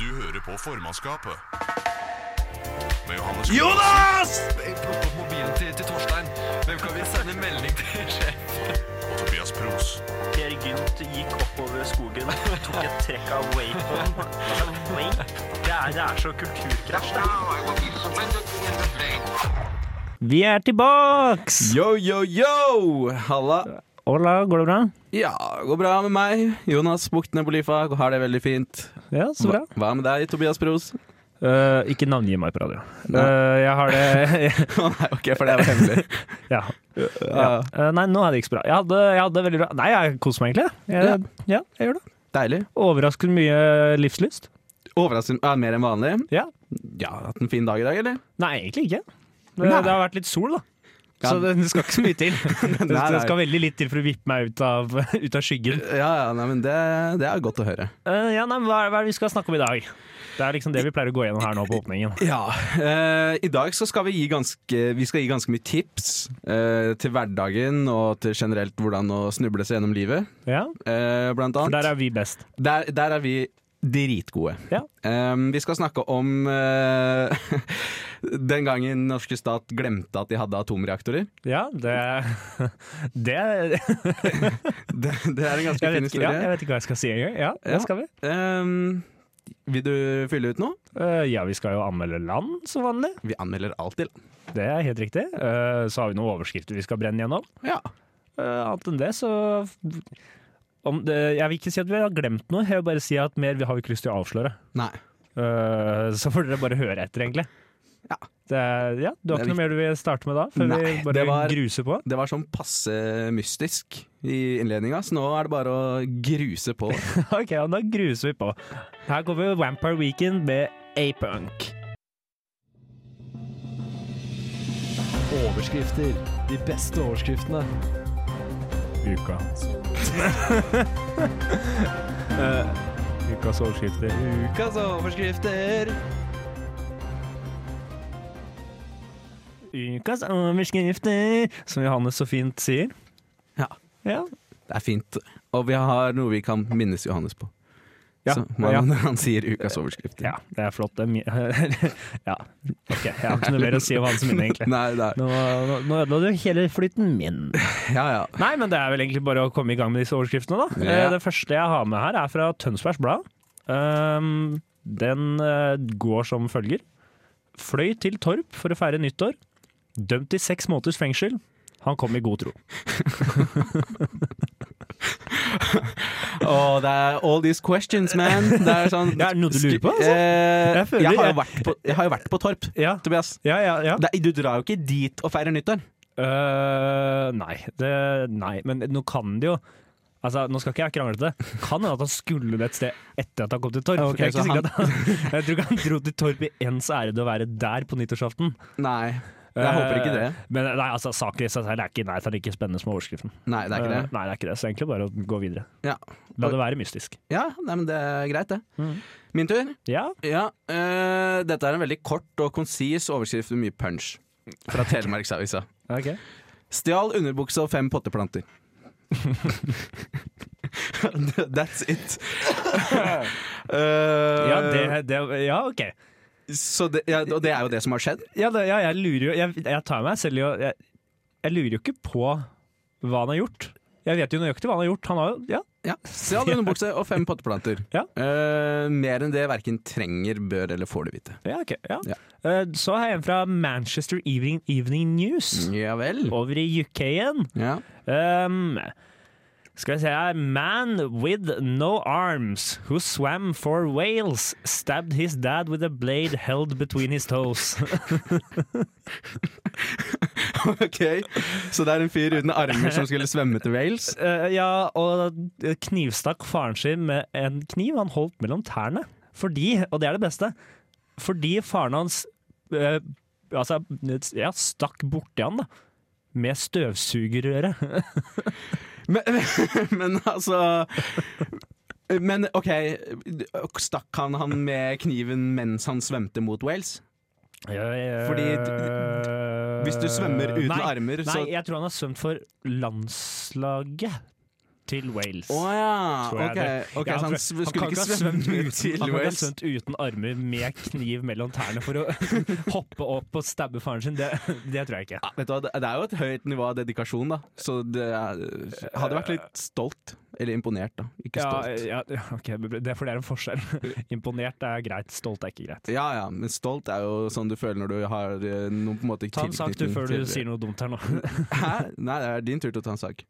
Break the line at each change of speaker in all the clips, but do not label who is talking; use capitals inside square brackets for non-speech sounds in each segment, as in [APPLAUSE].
Du hører på formannskapet. Med Johannes
Jonas!
Plukk opp mobilen til, til Torstein. Hvem kan vi sende melding til [LAUGHS] sjef?
Johansen og Tobias Pros.
Per Gynt gikk oppover skogen, tok et trekk av wakeboarden. Altså, wake? Det er, det er så kulturkrasj. det.
Vi er tilbaks!
Yo, yo, yo! Halla.
Hola, går det bra?
Ja, går bra med meg. Jonas Buktne Bolifa har det veldig fint.
Ja, så bra.
Hva med deg, Tobias Pros?
Eh, ikke navngi meg på radio.
Nei.
Eh, jeg har det [LAUGHS]
Å [LAUGHS] nei, ok, for det var [LAUGHS] hemmelig.
Ja. ja. Eh, nei, nå er det ikke så bra. Jeg hadde, jeg hadde veldig bra Nei, jeg koser meg egentlig. Jeg, ja, jeg gjør det.
Deilig.
Overraskende mye livslyst.
Overraskende er det mer enn vanlig.
Ja.
Ja, hatt en fin dag i dag, eller?
Nei, egentlig ikke. Det,
Nei.
det har vært litt sol, da.
Ja.
Så det, det skal ikke så mye
[LAUGHS]
til. Det,
Nei, nei.
det skal veldig litt til for å vippe meg ut av, [LAUGHS] ut av skyggen.
Ja, ja, nei, men det, det er godt å høre.
Eh, ja, nei, men hva, er- hva er det vi skal snakke om i dag? Det er liksom det vi pleier å gå gjennom her nå på åpningen.
Ja, eh, i dag så skal vi gi ganske, vi skal gi ganske mye tips eh, til hverdagen og til generelt hvordan å snuble seg gjennom livet,
Ja,
eh, blant
for
annet.
der er vi best.
Der, der er vi dritgode.
Ja.
Ehm, vi skal snakke om eh, [LAUGHS] den gangen norske stat glemte at de hadde atomreaktorer.
Ja, det [LAUGHS] Det
Det, det er en ganske
jeg vet,
fin
ikke, ja, jeg
historie.
vet ikke hva jeg skal si engang. Ja,
Ja.
det skal vi.
Ehm, vil du fylle ut noe?
Eh, ja, vi skal jo anmelde land som vanlig.
Vi anmelder alt til.
Det er helt riktig. Eh, så har vi noen overskrifter vi skal brenne gjennom.
Ja.
Eh, annet enn det, så om det, Jeg vil ikke si at vi har glemt noe, jeg vil bare si at mer vi har vi ikke lyst til å avsløre.
Nei.
Eh, så får dere bare høre etter, egentlig.
Ja.
Det, er- ja, du har
Det
ikke
er
noe mer du vil starte med da? Før vi
Nei,
bare
det var-
gruser på? [LAUGHS]
Det var sånn passe mystisk i innledninga, så nå er det bare å gruse på.
ok, ja, da gruser vi på. Her kommer Vampire Weekend med A-Punk.
Overskrifter. De beste overskriftene.
[LAUGHS] Uka. Eh, ukas overskrifter.
Ukas overskrifter!
Ukas overskrifter, som Johannes så fint sier.
Ja.
Ja,
Det er fint. Og vi har noe vi kan minnes Johannes på.
Ja,
Så, man,
ja.
Han sier ukas overskrifter.
ja det er flott. Det er mye [LAUGHS] Ja, ok. Jeg har ikke noe mer å si om hans minne, egentlig.
[LAUGHS] Nei, nei.
Nå, nå, nå ødela du hele flyten min.
Ja, ja.
Nei, men det er vel egentlig bare å komme i gang med disse overskriftene, da.
Ja.
Eh, Det første jeg har med her, er fra Tønsbergs Blad. Um, den eh, går som følger. Fløy til Torp for å feire nyttår. Dømt til seks måneders fengsel. Han kom i god tro.
Åh, det er all these questions, man. Det er sånn
Ja, er det noe du lurer på, altså?
Eh,
Jeg
jeg,
føler
har jo
jeg-
vært på, jeg har jo vært på Torp,
Ja,
Tobias.
ja, ja. ja.
Det, er- du drar jo ikke dit og feirer nyttår.
Øh, nei, det, nei, men nå kan det jo Altså, Nå skal ikke jeg krangle til det. Kan hende at han skulle det et sted etter at han kom til Torp.
Ok,
jeg, er ikke
så
sikker at han, [LAUGHS] jeg tror ikke han dro til Torp i ens ærede å være der på nyttårsaften.
Nei, jeg håper ikke det.
Eh, Men nei, altså, saken i seg selv er ikke, nei, det er ikke spennende som overskriften.
Nei, det er ikke
Eh,
det.
nei, det er ikke det. Så egentlig bare å gå videre.
Ja,
La det være mystisk.
ja nei, men det er greit, det.
Mm.
Min tur.
Ja,
Ja, eh, dette er en veldig kort og konsis overskrift med mye punch. Fra Telemarksavisa.
ok.
Stjal underbukse og fem potteplanter.
[LAUGHS]
[LAUGHS] That's it. Eh,
Ja, det, det, ja, ok.
så det, ja, og det er jo det som har skjedd.
Ja, det, ja jeg lurer jo jeg, jeg tar meg selv i å jeg, jeg lurer jo ikke på hva han har gjort. Jeg vet jo nøyaktig hva han har gjort. Han har jo Ja.
Ja, Stjal underbukse og fem potteplanter.
Ja.
Eh, mer enn det verken trenger, bør eller får du vite.
Ja, ok. Ja.
Ja.
Eh, Så har jeg en fra Manchester Evening, Evening News
Ja vel.
over i UK igjen.
Ja.
Um, skal vi se her Man with no arms who swam for Wales stabbed his dad with a blade held between his toes.
Ok, Så det er en fyr uten armer som skulle svømme til Wales?
Eh, ja, og knivstakk faren sin med en kniv han holdt mellom tærne. Fordi, og det er det beste, fordi faren hans eh, altså, ja, stakk borti han da, med støvsugerøret.
Men, [LAUGHS] men altså Men OK, stakk han han med kniven mens han svømte mot Wales? Fordi hvis du svømmer uten
nei,
armer,
Nei,
så-
jeg tror han har svømt for landslaget. til Wales.
Å ja.
tror jeg
Ok,
det-
ok,
Ja,
så han
for-
s-
han
skulle
kan
ikke
ha
svømme
svømt uten-
til
Han kan ikke ha
Wales.
svømt uten armer med kniv mellom tærne for å [LAUGHS] hoppe opp og stabbe faren sin. Det, det tror jeg ikke.
Ja, Vet du hva, Det er jo et høyt nivå av dedikasjon, da. Så det er, hadde vært litt stolt. Eller imponert, da. Ikke
Ja,
stolt.
ja, ok, det er for det er en forskjell. [LAUGHS] Imponert er greit, stolt er ikke greit.
Ja ja, men stolt er jo sånn du føler når du har eh, noen på en måte
Ta en sak du
tilknytning
før du
til-
sier noe dumt her nå.
[LAUGHS]
[LAUGHS]
Hæ? Nei, det er din tur til å ta en sak.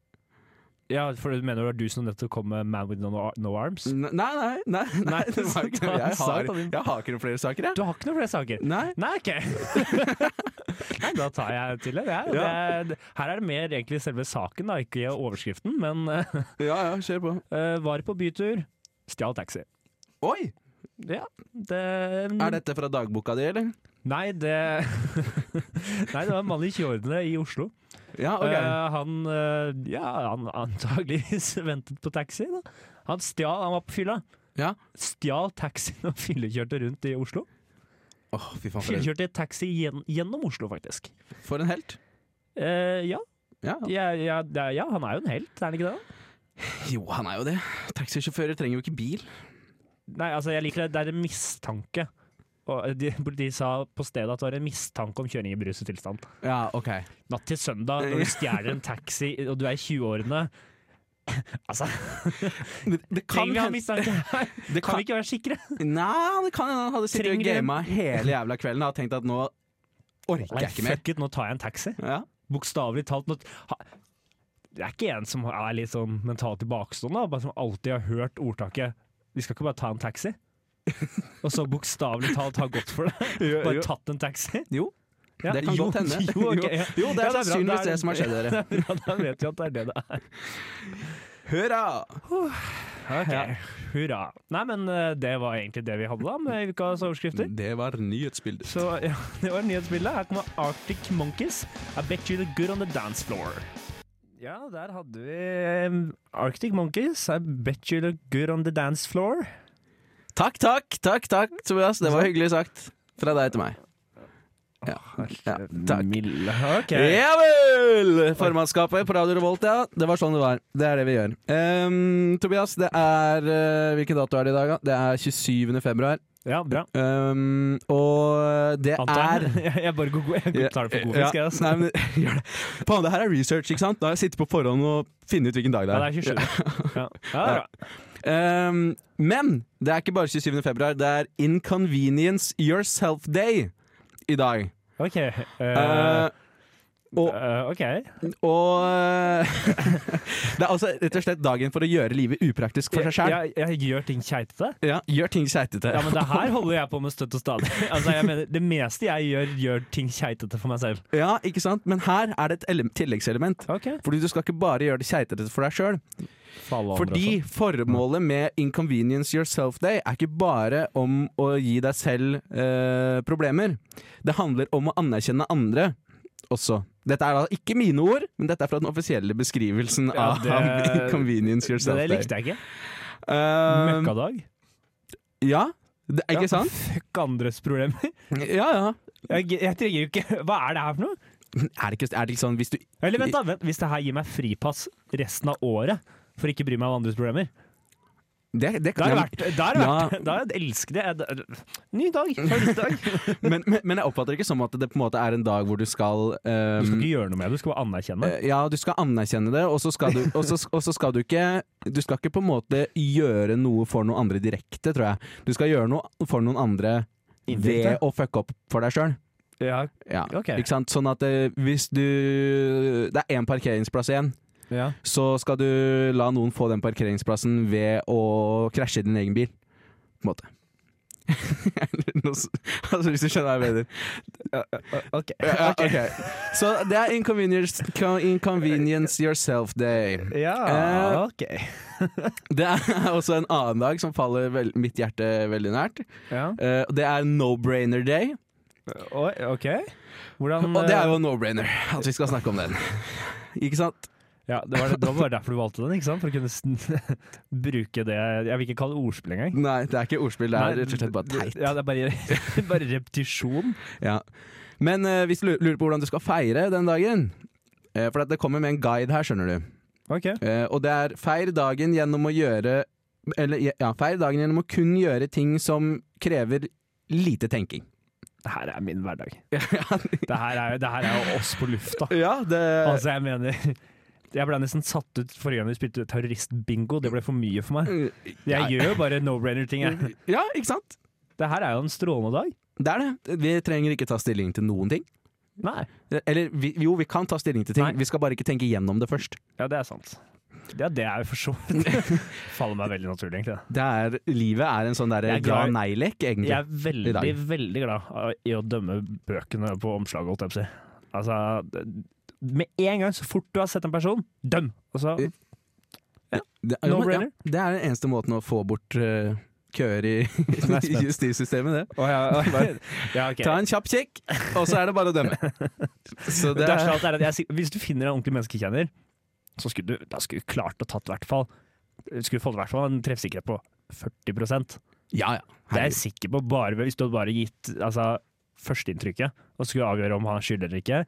Ja, for du mener det var du som nettopp kom med Man with no, no arms?
N- Nei, nei, nei. nei,
[LAUGHS] Nei,
det var ikke,
ta en
jeg, har,
sak, da, din-
jeg har ikke noen flere saker, jeg.
Du har ikke noen flere saker?
Nei.
Nei, OK. [LAUGHS] Nei, da tar jeg til det.
Ja.
jeg. det er, her er det mer egentlig selve saken, da, ikke overskriften. Men [LAUGHS] eh,
Ja ja, kjør på.
var på bytur, stjal taxi.
Oi!
Ja, det
Er dette fra dagboka di, eller?
Nei, det [LAUGHS] Nei, det var en mann i 20-årene i Oslo.
Ja, ok.
Eh, han eh, ja, han antageligvis [LAUGHS] ventet på taxi. Da. Han stjal, han var på fylla.
Ja.
Stjal taxien og fyllekjørte rundt i Oslo.
Åh, fy faen, for en,
Fyllekjørte taxi gjen, gjennom Oslo, faktisk.
for en helt.
Eh, ja,
Ja.
ja, ja, det er- ja, han er jo en helt, er han ikke det? da?
Jo, han er jo det. Taxisjåfører trenger jo ikke bil.
Nei, altså, jeg liker det. Det er en mistanke. Og eh, de, politiet sa på stedet at det var en mistanke om kjøring i beruset tilstand.
Ja, ok.
Natt til søndag, når du stjeler en taxi og du er i 20-årene [CLEARS THROAT] Altså,
Det, det kan
trenger vi ha
hende
mistanke?
[LAUGHS]
her?
det
Kan
kan-
vi ikke være sikre?
Nei, det kan hende han hadde sittet og
Trenger en-
gama hele jævla kvelden og tenkt at nå orker
Nei,
jeg ikke mer.
fuck it, nå tar jeg en taxi.
Ja.
Bokstavelig talt. Nå, ha, det er ikke en som er litt sånn mentalt tilbakestående, da, bare som alltid har hørt ordtaket 'vi skal ikke bare ta en taxi', og så bokstavelig talt har gått
[LAUGHS]
for det. Bare tatt en taxi.
Jo,
Ja,
det kan
jo,
godt hende.
[LAUGHS] Jo, ok, ja.
jo, det
Ja,
er
bra,
sannsynligvis
da er
det som har skjedd, dere.
[LAUGHS] Ja, det er bra, da vet vi at det er det det er.
Hurra!
Ja, hurra. Nei, men eh, det var egentlig det vi hadde da med ukas overskrifter.
Det var nyhetsbildet.
Så ja, det var nyhetsbildet. Her kommer Arctic Monkeys. I bet you look good on the dance floor. Ja, der hadde vi eh, Arctic Monkeys. I bet you look good on the dance floor.
Takk, takk, takk, takk, Tobias. Det var hyggelig sagt fra deg til meg. Ja, ja takk.
Milde. Ok.
Ja vel! Formannskapet på Radio Revolt, ja. Det var sånn det var. Det er det vi gjør. Ehm, Tobias, det er eh, Hvilken dato er det i dag, da? Det er 27. februar.
Ja, bra.
Ehm, og det er
Antar jeg. [LAUGHS] Jeg bare går god. Jeg
[LAUGHS] Ja,
tar det for god
ja,
fisk, jeg. Altså.
Nei, men [LAUGHS] gjør det. Faen, det her er research, ikke sant? Da har jeg sittet på forhånd og funnet ut hvilken dag det er.
Ja, det er 27. Ja. Ja, det er bra.
Ehm, men det er ikke bare 27. februar, det er Inconvenience Yourself Day i dag.
OK.
Eh,
eh,
og,
eh, OK.
og eh, [LAUGHS] Det er altså rett og slett dagen for å gjøre livet upraktisk for seg sjæl.
Jeg, jeg, jeg gjør ting keitete.
Ja, gjør ting keitete.
Ja, men det her holder jeg på med støtt og stadig. Altså, jeg mener, det meste jeg gjør, gjør ting keitete for meg selv.
[LAUGHS] Ja, ikke sant? Men her er det et ele- tilleggselement.
Ok.
Fordi du skal ikke bare gjøre det keitete for deg sjøl. Fordi formålet med Inconvenience Yourself Day er ikke bare om å gi deg selv eh, problemer. Det handler om å anerkjenne andre også. Dette er da ikke mine ord, men dette er fra den offisielle beskrivelsen
Ja,
av
det-
[LAUGHS] Inconvenience
Det
Yourself
der
Day.
likte jeg ikke.
Eh,
Møkkadag.
ja, det, er ikke
Ja.
sant?
Fuck andres problemer. [LAUGHS]
Ja, ja.
Jeg, jeg trenger jo ikke Hva er det her for noe?
Er det ikke, er det ikke sånn hvis du
Eller vent, da. Vent. Hvis det her gir meg fripass resten av året for ikke bry meg om andres problemer,
Det, det
da
kan
er det
jeg-
verdt da er det.
Ja.
Verdt. Da er det elsker det. Jeg- Ny dag.
[LAUGHS]
Favorittdag.
[LAUGHS] men, men, men jeg oppfatter det ikke som at det på en måte er en dag hvor du skal eh,
Du skal ikke gjøre noe med det, du skal bare anerkjenne.
Eh, Ja, du skal anerkjenne det, og så skal du, og så, og så skal du ikke Du skal ikke på en måte gjøre noe for noen andre direkte, tror jeg. Du skal gjøre noe for noen andre
Indirekte?
ved å fucke opp for deg sjøl.
Ja,
eh, Ja.
Ok.
Ikke sant? Sånn at eh, hvis du Det er én parkeringsplass igjen,
ja.
så skal du la noen få den parkeringsplassen ved å krasje i din egen bil. På en måte. [LAUGHS] Eller noe s- altså, hvis du skjønner hva jeg mener. Eh,
OK.
Ja, ok. Så det er inconvenience, inconvenience yourself day. Eh,
Ja, OK.
Det er [LAUGHS] også en annen dag som faller vel, mitt hjerte veldig nært.
Ja.
Eh, og det er no-brainer day.
Oi, OK. Hvordan
Og det er jo no-brainer at vi skal snakke om den. [LAUGHS] Ikke sant?
eh, Ja, det var, det var bare derfor du valgte den, ikke sant? For å kunne sn- [LAUGHS] bruke det Jeg vil ikke kalle det ordspill engang.
Nei, det er ikke ordspill, det
Nei,
er rett og slett bare teit.
Ja, det er bare, [LAUGHS] bare repetisjon.
Ja. Men eh, hvis du lu- lurer på hvordan du skal feire den dagen eh, For at det kommer med en guide her, skjønner du.
Ok.
Eh, og det er feir dagen gjennom å gjøre Eller ja, feir dagen gjennom å kun gjøre ting som krever lite tenking. [LAUGHS]
Det her er min hverdag. Det her er, jo- det her er jo oss på lufta.
[LAUGHS] ja, det
Altså, jeg mener Jeg ble nesten satt ut forrige gang vi spilte terroristbingo. Det ble for mye for meg. Jeg gjør jo bare no-brainer-ting, jeg.
Ja, ikke sant?
Det her er jo en strålende dag.
Det er det. Vi trenger ikke ta stilling til noen ting.
Nei.
Eller vi, jo, vi kan ta stilling til ting,
Nei.
vi skal bare ikke tenke gjennom det først.
Ja, det er sant. Ja, det er jo for så [LAUGHS] vidt Faller meg veldig naturlig, egentlig. det.
Det er, livet er en sånn der
Jeg er glad-
ja-nei-lek, egentlig.
Jeg er
I
veldig,
dag.
veldig glad i å dømme bøkene på omslaget, holdt jeg på å si. Altså, det- med en gang, så fort du har sett en person, døm! Og så
Det, jo, men,
No-brainer.
ja, det er den eneste måten å få bort eh, køer i [LAUGHS]
er spent.
justissystemet, det.
Å ja,
Bare-
ja, ok.
[LAUGHS] Ta en kjapp kikk, og så er det bare å
[LAUGHS]
dømme. Så det
Det verste
er,
av alt er sånn. at jeg, sik- hvis du finner en ordentlig menneskekjenner, så skulle du, da skulle du klart å tatt i hvert fall Skulle fått i hvert fall en treffsikkerhet på 40
ja, ja.
Det er jeg
Herregud.
sikker på, bare hvis du hadde bare gitt altså, førsteinntrykket og skulle avgjøre om han er skyldig eller ikke.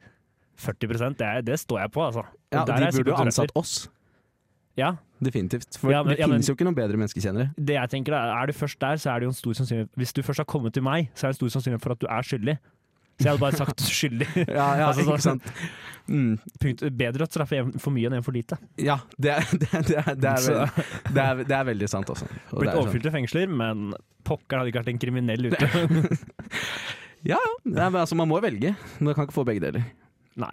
40 det, er, det står jeg på, altså. Og
Ja,
der er
de
jeg sikker
burde jo
på at du
ansatt
treffer.
oss,
Ja,
definitivt. For
Ja, men-
det
ja, men-
finnes jo ikke noen bedre menneskekjennere.
det jeg tenker da, Er du først der, så er det jo en stor sannsynlighet Hvis du først har kommet til meg, så er det en stor sannsynlighet for at du er skyldig. Så jeg hadde bare sagt skyldig.
[LAUGHS] Ja, ja,
Altså, så-
ikke sant. sånn- Mm,
Punkt. Bedre å straffe en for mye enn en for lite.
ja, det er, det, er, det, er, det, er
Så-
veldig, det, er, det er veldig sant, altså. Og det
Blitt
er sånn.
overfylte fengsler, men pokker hadde ikke vært en kriminell ute.
[LAUGHS] Nei, men altså, man må velge. Man kan ikke få begge deler.
Nei.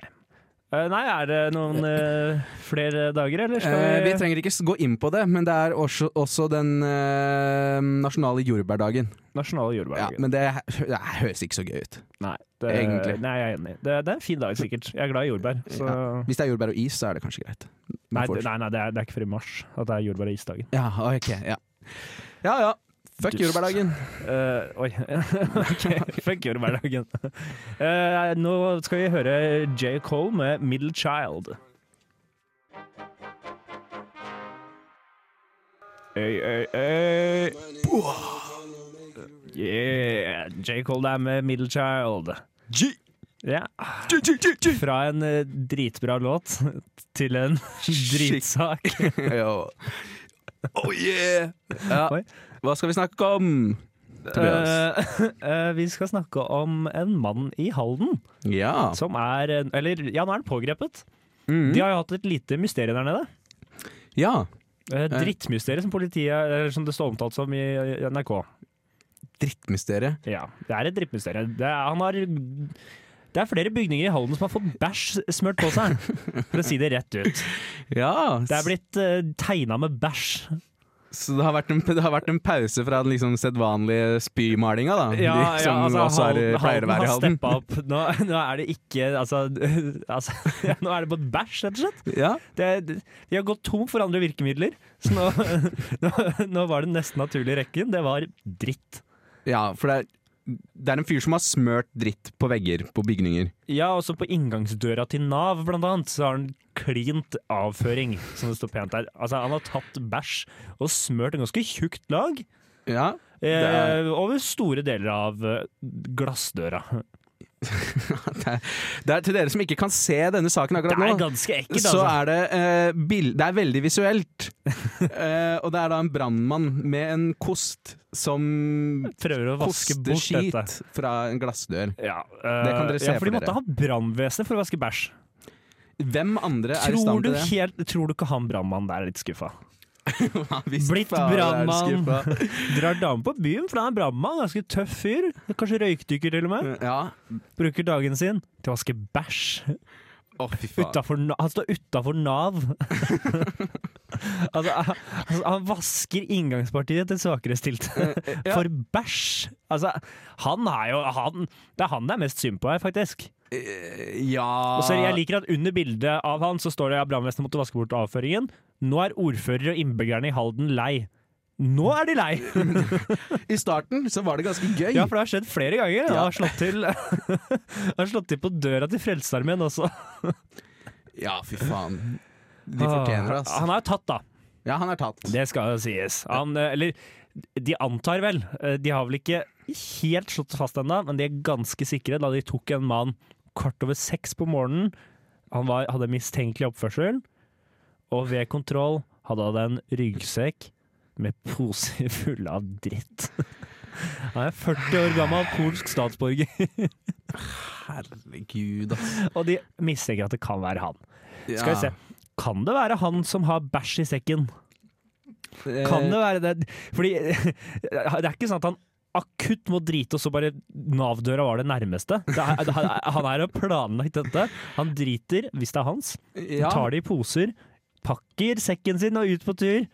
Eh, nei, er det noen eh, flere dager, eller skal
Eh,
vi
vi trenger ikke s- gå inn på det, men det er også, også den eh, nasjonale jordbærdagen.
Nasjonale
Ja,
jordbærdagen.
men det, hø- det høres ikke så gøy ut.
Nei, det,
Egentlig.
Nei, jeg er enig. Det, det er en fin dag, sikkert. Jeg er glad i jordbær. Så.
Hvis det er jordbær og is, så er det kanskje greit. Man
Nei,
får-
det- nei, nei det, er, det er ikke før i mars at det er jordbær- og isdagen.
Ja, ok, ja. ja, ja. Fuck
Dust.
jordbærdagen.
Eh, oi. [LAUGHS] ok, fuck jordbærdagen. Eh, nå skal vi høre J. Cole med 'Middle Child'. Øy, øy, øy. Yeah, J. Cole der med 'Middle Child'. Ja.
[LAUGHS]
Fra en eh, dritbra låt til en [LAUGHS] dritsak.
Jo. Oh yeah! Ja.
Oi.
Hva skal vi snakke om? Tobias?
Eh, eh, vi skal snakke om en mann i Halden
ja.
som er en- Eller, ja, nå er han pågrepet.
Mhm.
De har jo hatt et lite mysterium der nede.
ja.
Eh, Drittmysteriet som politiet Eller som det står omtalt som i i NRK.
Drittmysteriet.
Ja, det er et drittmysterium. Det er, han har det er flere bygninger i Halden som har fått bæsj smørt på seg, for å si det rett ut.
Ja,
Det er blitt uh, tegna med bæsj
Så det har vært en, det har vært en pause fra den liksom sedvanlige spymalinga, da?
[LAUGHS] Ja,
som
ja, altså,
også er, pleier å
Halden,
være
Halden
i
har
Halden.
steppa opp. Nå, nå er det ikke altså, altså, [LAUGHS] ja, Nå er det bare bæsj, rett og slett.
Ja.
Det, det- de har gått tom for andre virkemidler, så nå, [LAUGHS] nå, nå var det nesten naturlig i rekken. Det var dritt.
ja, for det er, det er en fyr som har smørt dritt på vegger på bygninger.
Ja, også på inngangsdøra til Nav, blant annet, så har han klint avføring, som det står pent der. Altså, han har tatt bæsj og smørt en ganske tjukt lag
Ja, [LAUGHS]
eh,
Det
over store deler av eh, glassdøra.
det er, det er Til dere som ikke kan se denne saken
Det
akkurat nå,
er ganske ekkelt,
så
altså.
er det eh, bil, Det er veldig visuelt. [LAUGHS] Eh, og det er da en brannmann med en kost som
Prøver å vaske
koster
bort dette.
skit fra en glassdør.
Ja,
kan dere
eh,
se
ja, for
for
de måtte
dere.
ha brannvesenet for å vaske bæsj.
Hvem andre er i
Tror
stand
du,
til det?
helt, tror du ikke han brannmannen der er litt skuffa?
Ja, visst
Blitt
faen, jeg er
brandmann.
skuffa.
Drar dame på byen, for han er brannmann, ganske tøff fyr. Kanskje røykdykker til og med.
Ja.
Bruker dagen sin til å vaske bæsj.
Å, fy faen.
Utenfor Na- Han står utafor Nav. [LAUGHS] altså, han- altså, han vasker inngangspartiet til svakere stilte
Eh, Ja.
for bæsj! Altså, han er jo han, Det er han det er mest synd på her, faktisk.
Eh, Ja
Og så jeg liker at Under bildet av han så står det at brannvesenet måtte vaske bort avføringen. Nå er ordfører og innbyggerne i Halden lei. Nå er de lei!
I starten så var det ganske gøy.
Ja, for det har skjedd flere ganger. Han
Ja.
har slått til, [LAUGHS] har slått til på døra til Frelsesarmeen også.
Ja, fy faen. De fortjener det, ass.
Ah, Han er jo tatt, da.
Ja, han er tatt.
Det skal jo sies. Han, eh, eller de antar vel. Eh, De har vel ikke helt slått fast ennå, men de er ganske sikre da de tok en mann kvart over seks på morgenen. Han var, hadde mistenkelig oppførsel. Og ved kontroll hadde han en ryggsekk med poser [LAUGHS] fulle av dritt. Han er 40 år gammel polsk statsborger,
Herregud, ass.
og de mistenker at det kan være han.
Ja.
Skal vi se. Kan det være han som har bæsj i sekken?
Eh.
Kan det være det? Fordi [LAUGHS] det er ikke sånn at han akutt må drite, og så bare Nav-døra var det nærmeste. Det er, det er, han er jo planlagt dette. Han driter, hvis det er hans,
Ja.
tar det i poser, pakker sekken sin og ut på tur.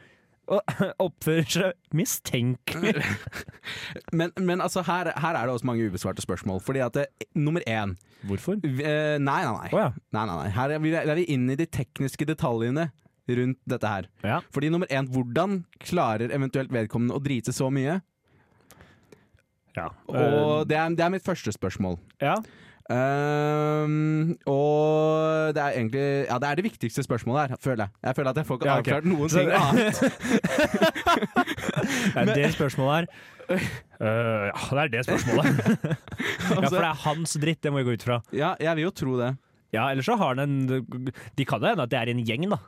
Og [LAUGHS] oppfører seg mistenkelig.
[LAUGHS] Men, men altså, her, her er det også mange ubesvarte spørsmål. Fordi at det, nummer én
Hvorfor?
vi- eh, Nei, nei, nei.
Å ja.
nei, nei, nei. Her er vi, er vi inne i de tekniske detaljene rundt dette her.
ja.
Fordi nummer én, hvordan klarer eventuelt vedkommende å drite så mye?
Ja. Eh,
Og det er, det er mitt første spørsmål.
ja.
Ehm, og det er egentlig Ja, det er det viktigste spørsmålet her, føler jeg. Jeg føler at jeg får ikke
Ja, ok.
avklart noen
Så-
ting annet.
[LAUGHS] Det er det spørsmålet her. Øh, ja, det er det [LAUGHS] spørsmålet. ja, for det er hans dritt, det må vi gå ut fra.
Ja, jeg vil jo tro det.
Ja, Ellers så har han en De kan jo hende at det er en gjeng, da.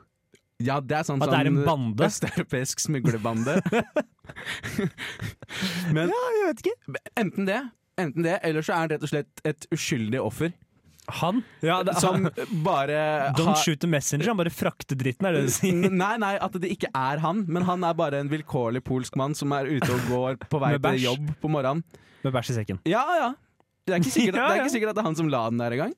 Ja, det er sånn
At det er en
sånn
bande.
Østeuropeisk
[LAUGHS]
smuglerbande. Men
jeg vet ikke.
enten det, enten det, eller så er han rett og slett et uskyldig offer.
Han? Ja, det, [LAUGHS]
Som bare
Don't
har- Mm.
shoot the messenger, han bare frakter dritten, er det det du sier?
Nei, nei, at det ikke er han, men han er bare en vilkårlig polsk mann som er ute og går på vei
[LAUGHS] Med
til
bæsj.
jobb på morgenen.
Med bæsj i sekken.
Ja, ja. Det er ikke sikkert,
[LAUGHS]
Det
Ja,
er
ja.
ikke sikkert at det er han som la den der engang.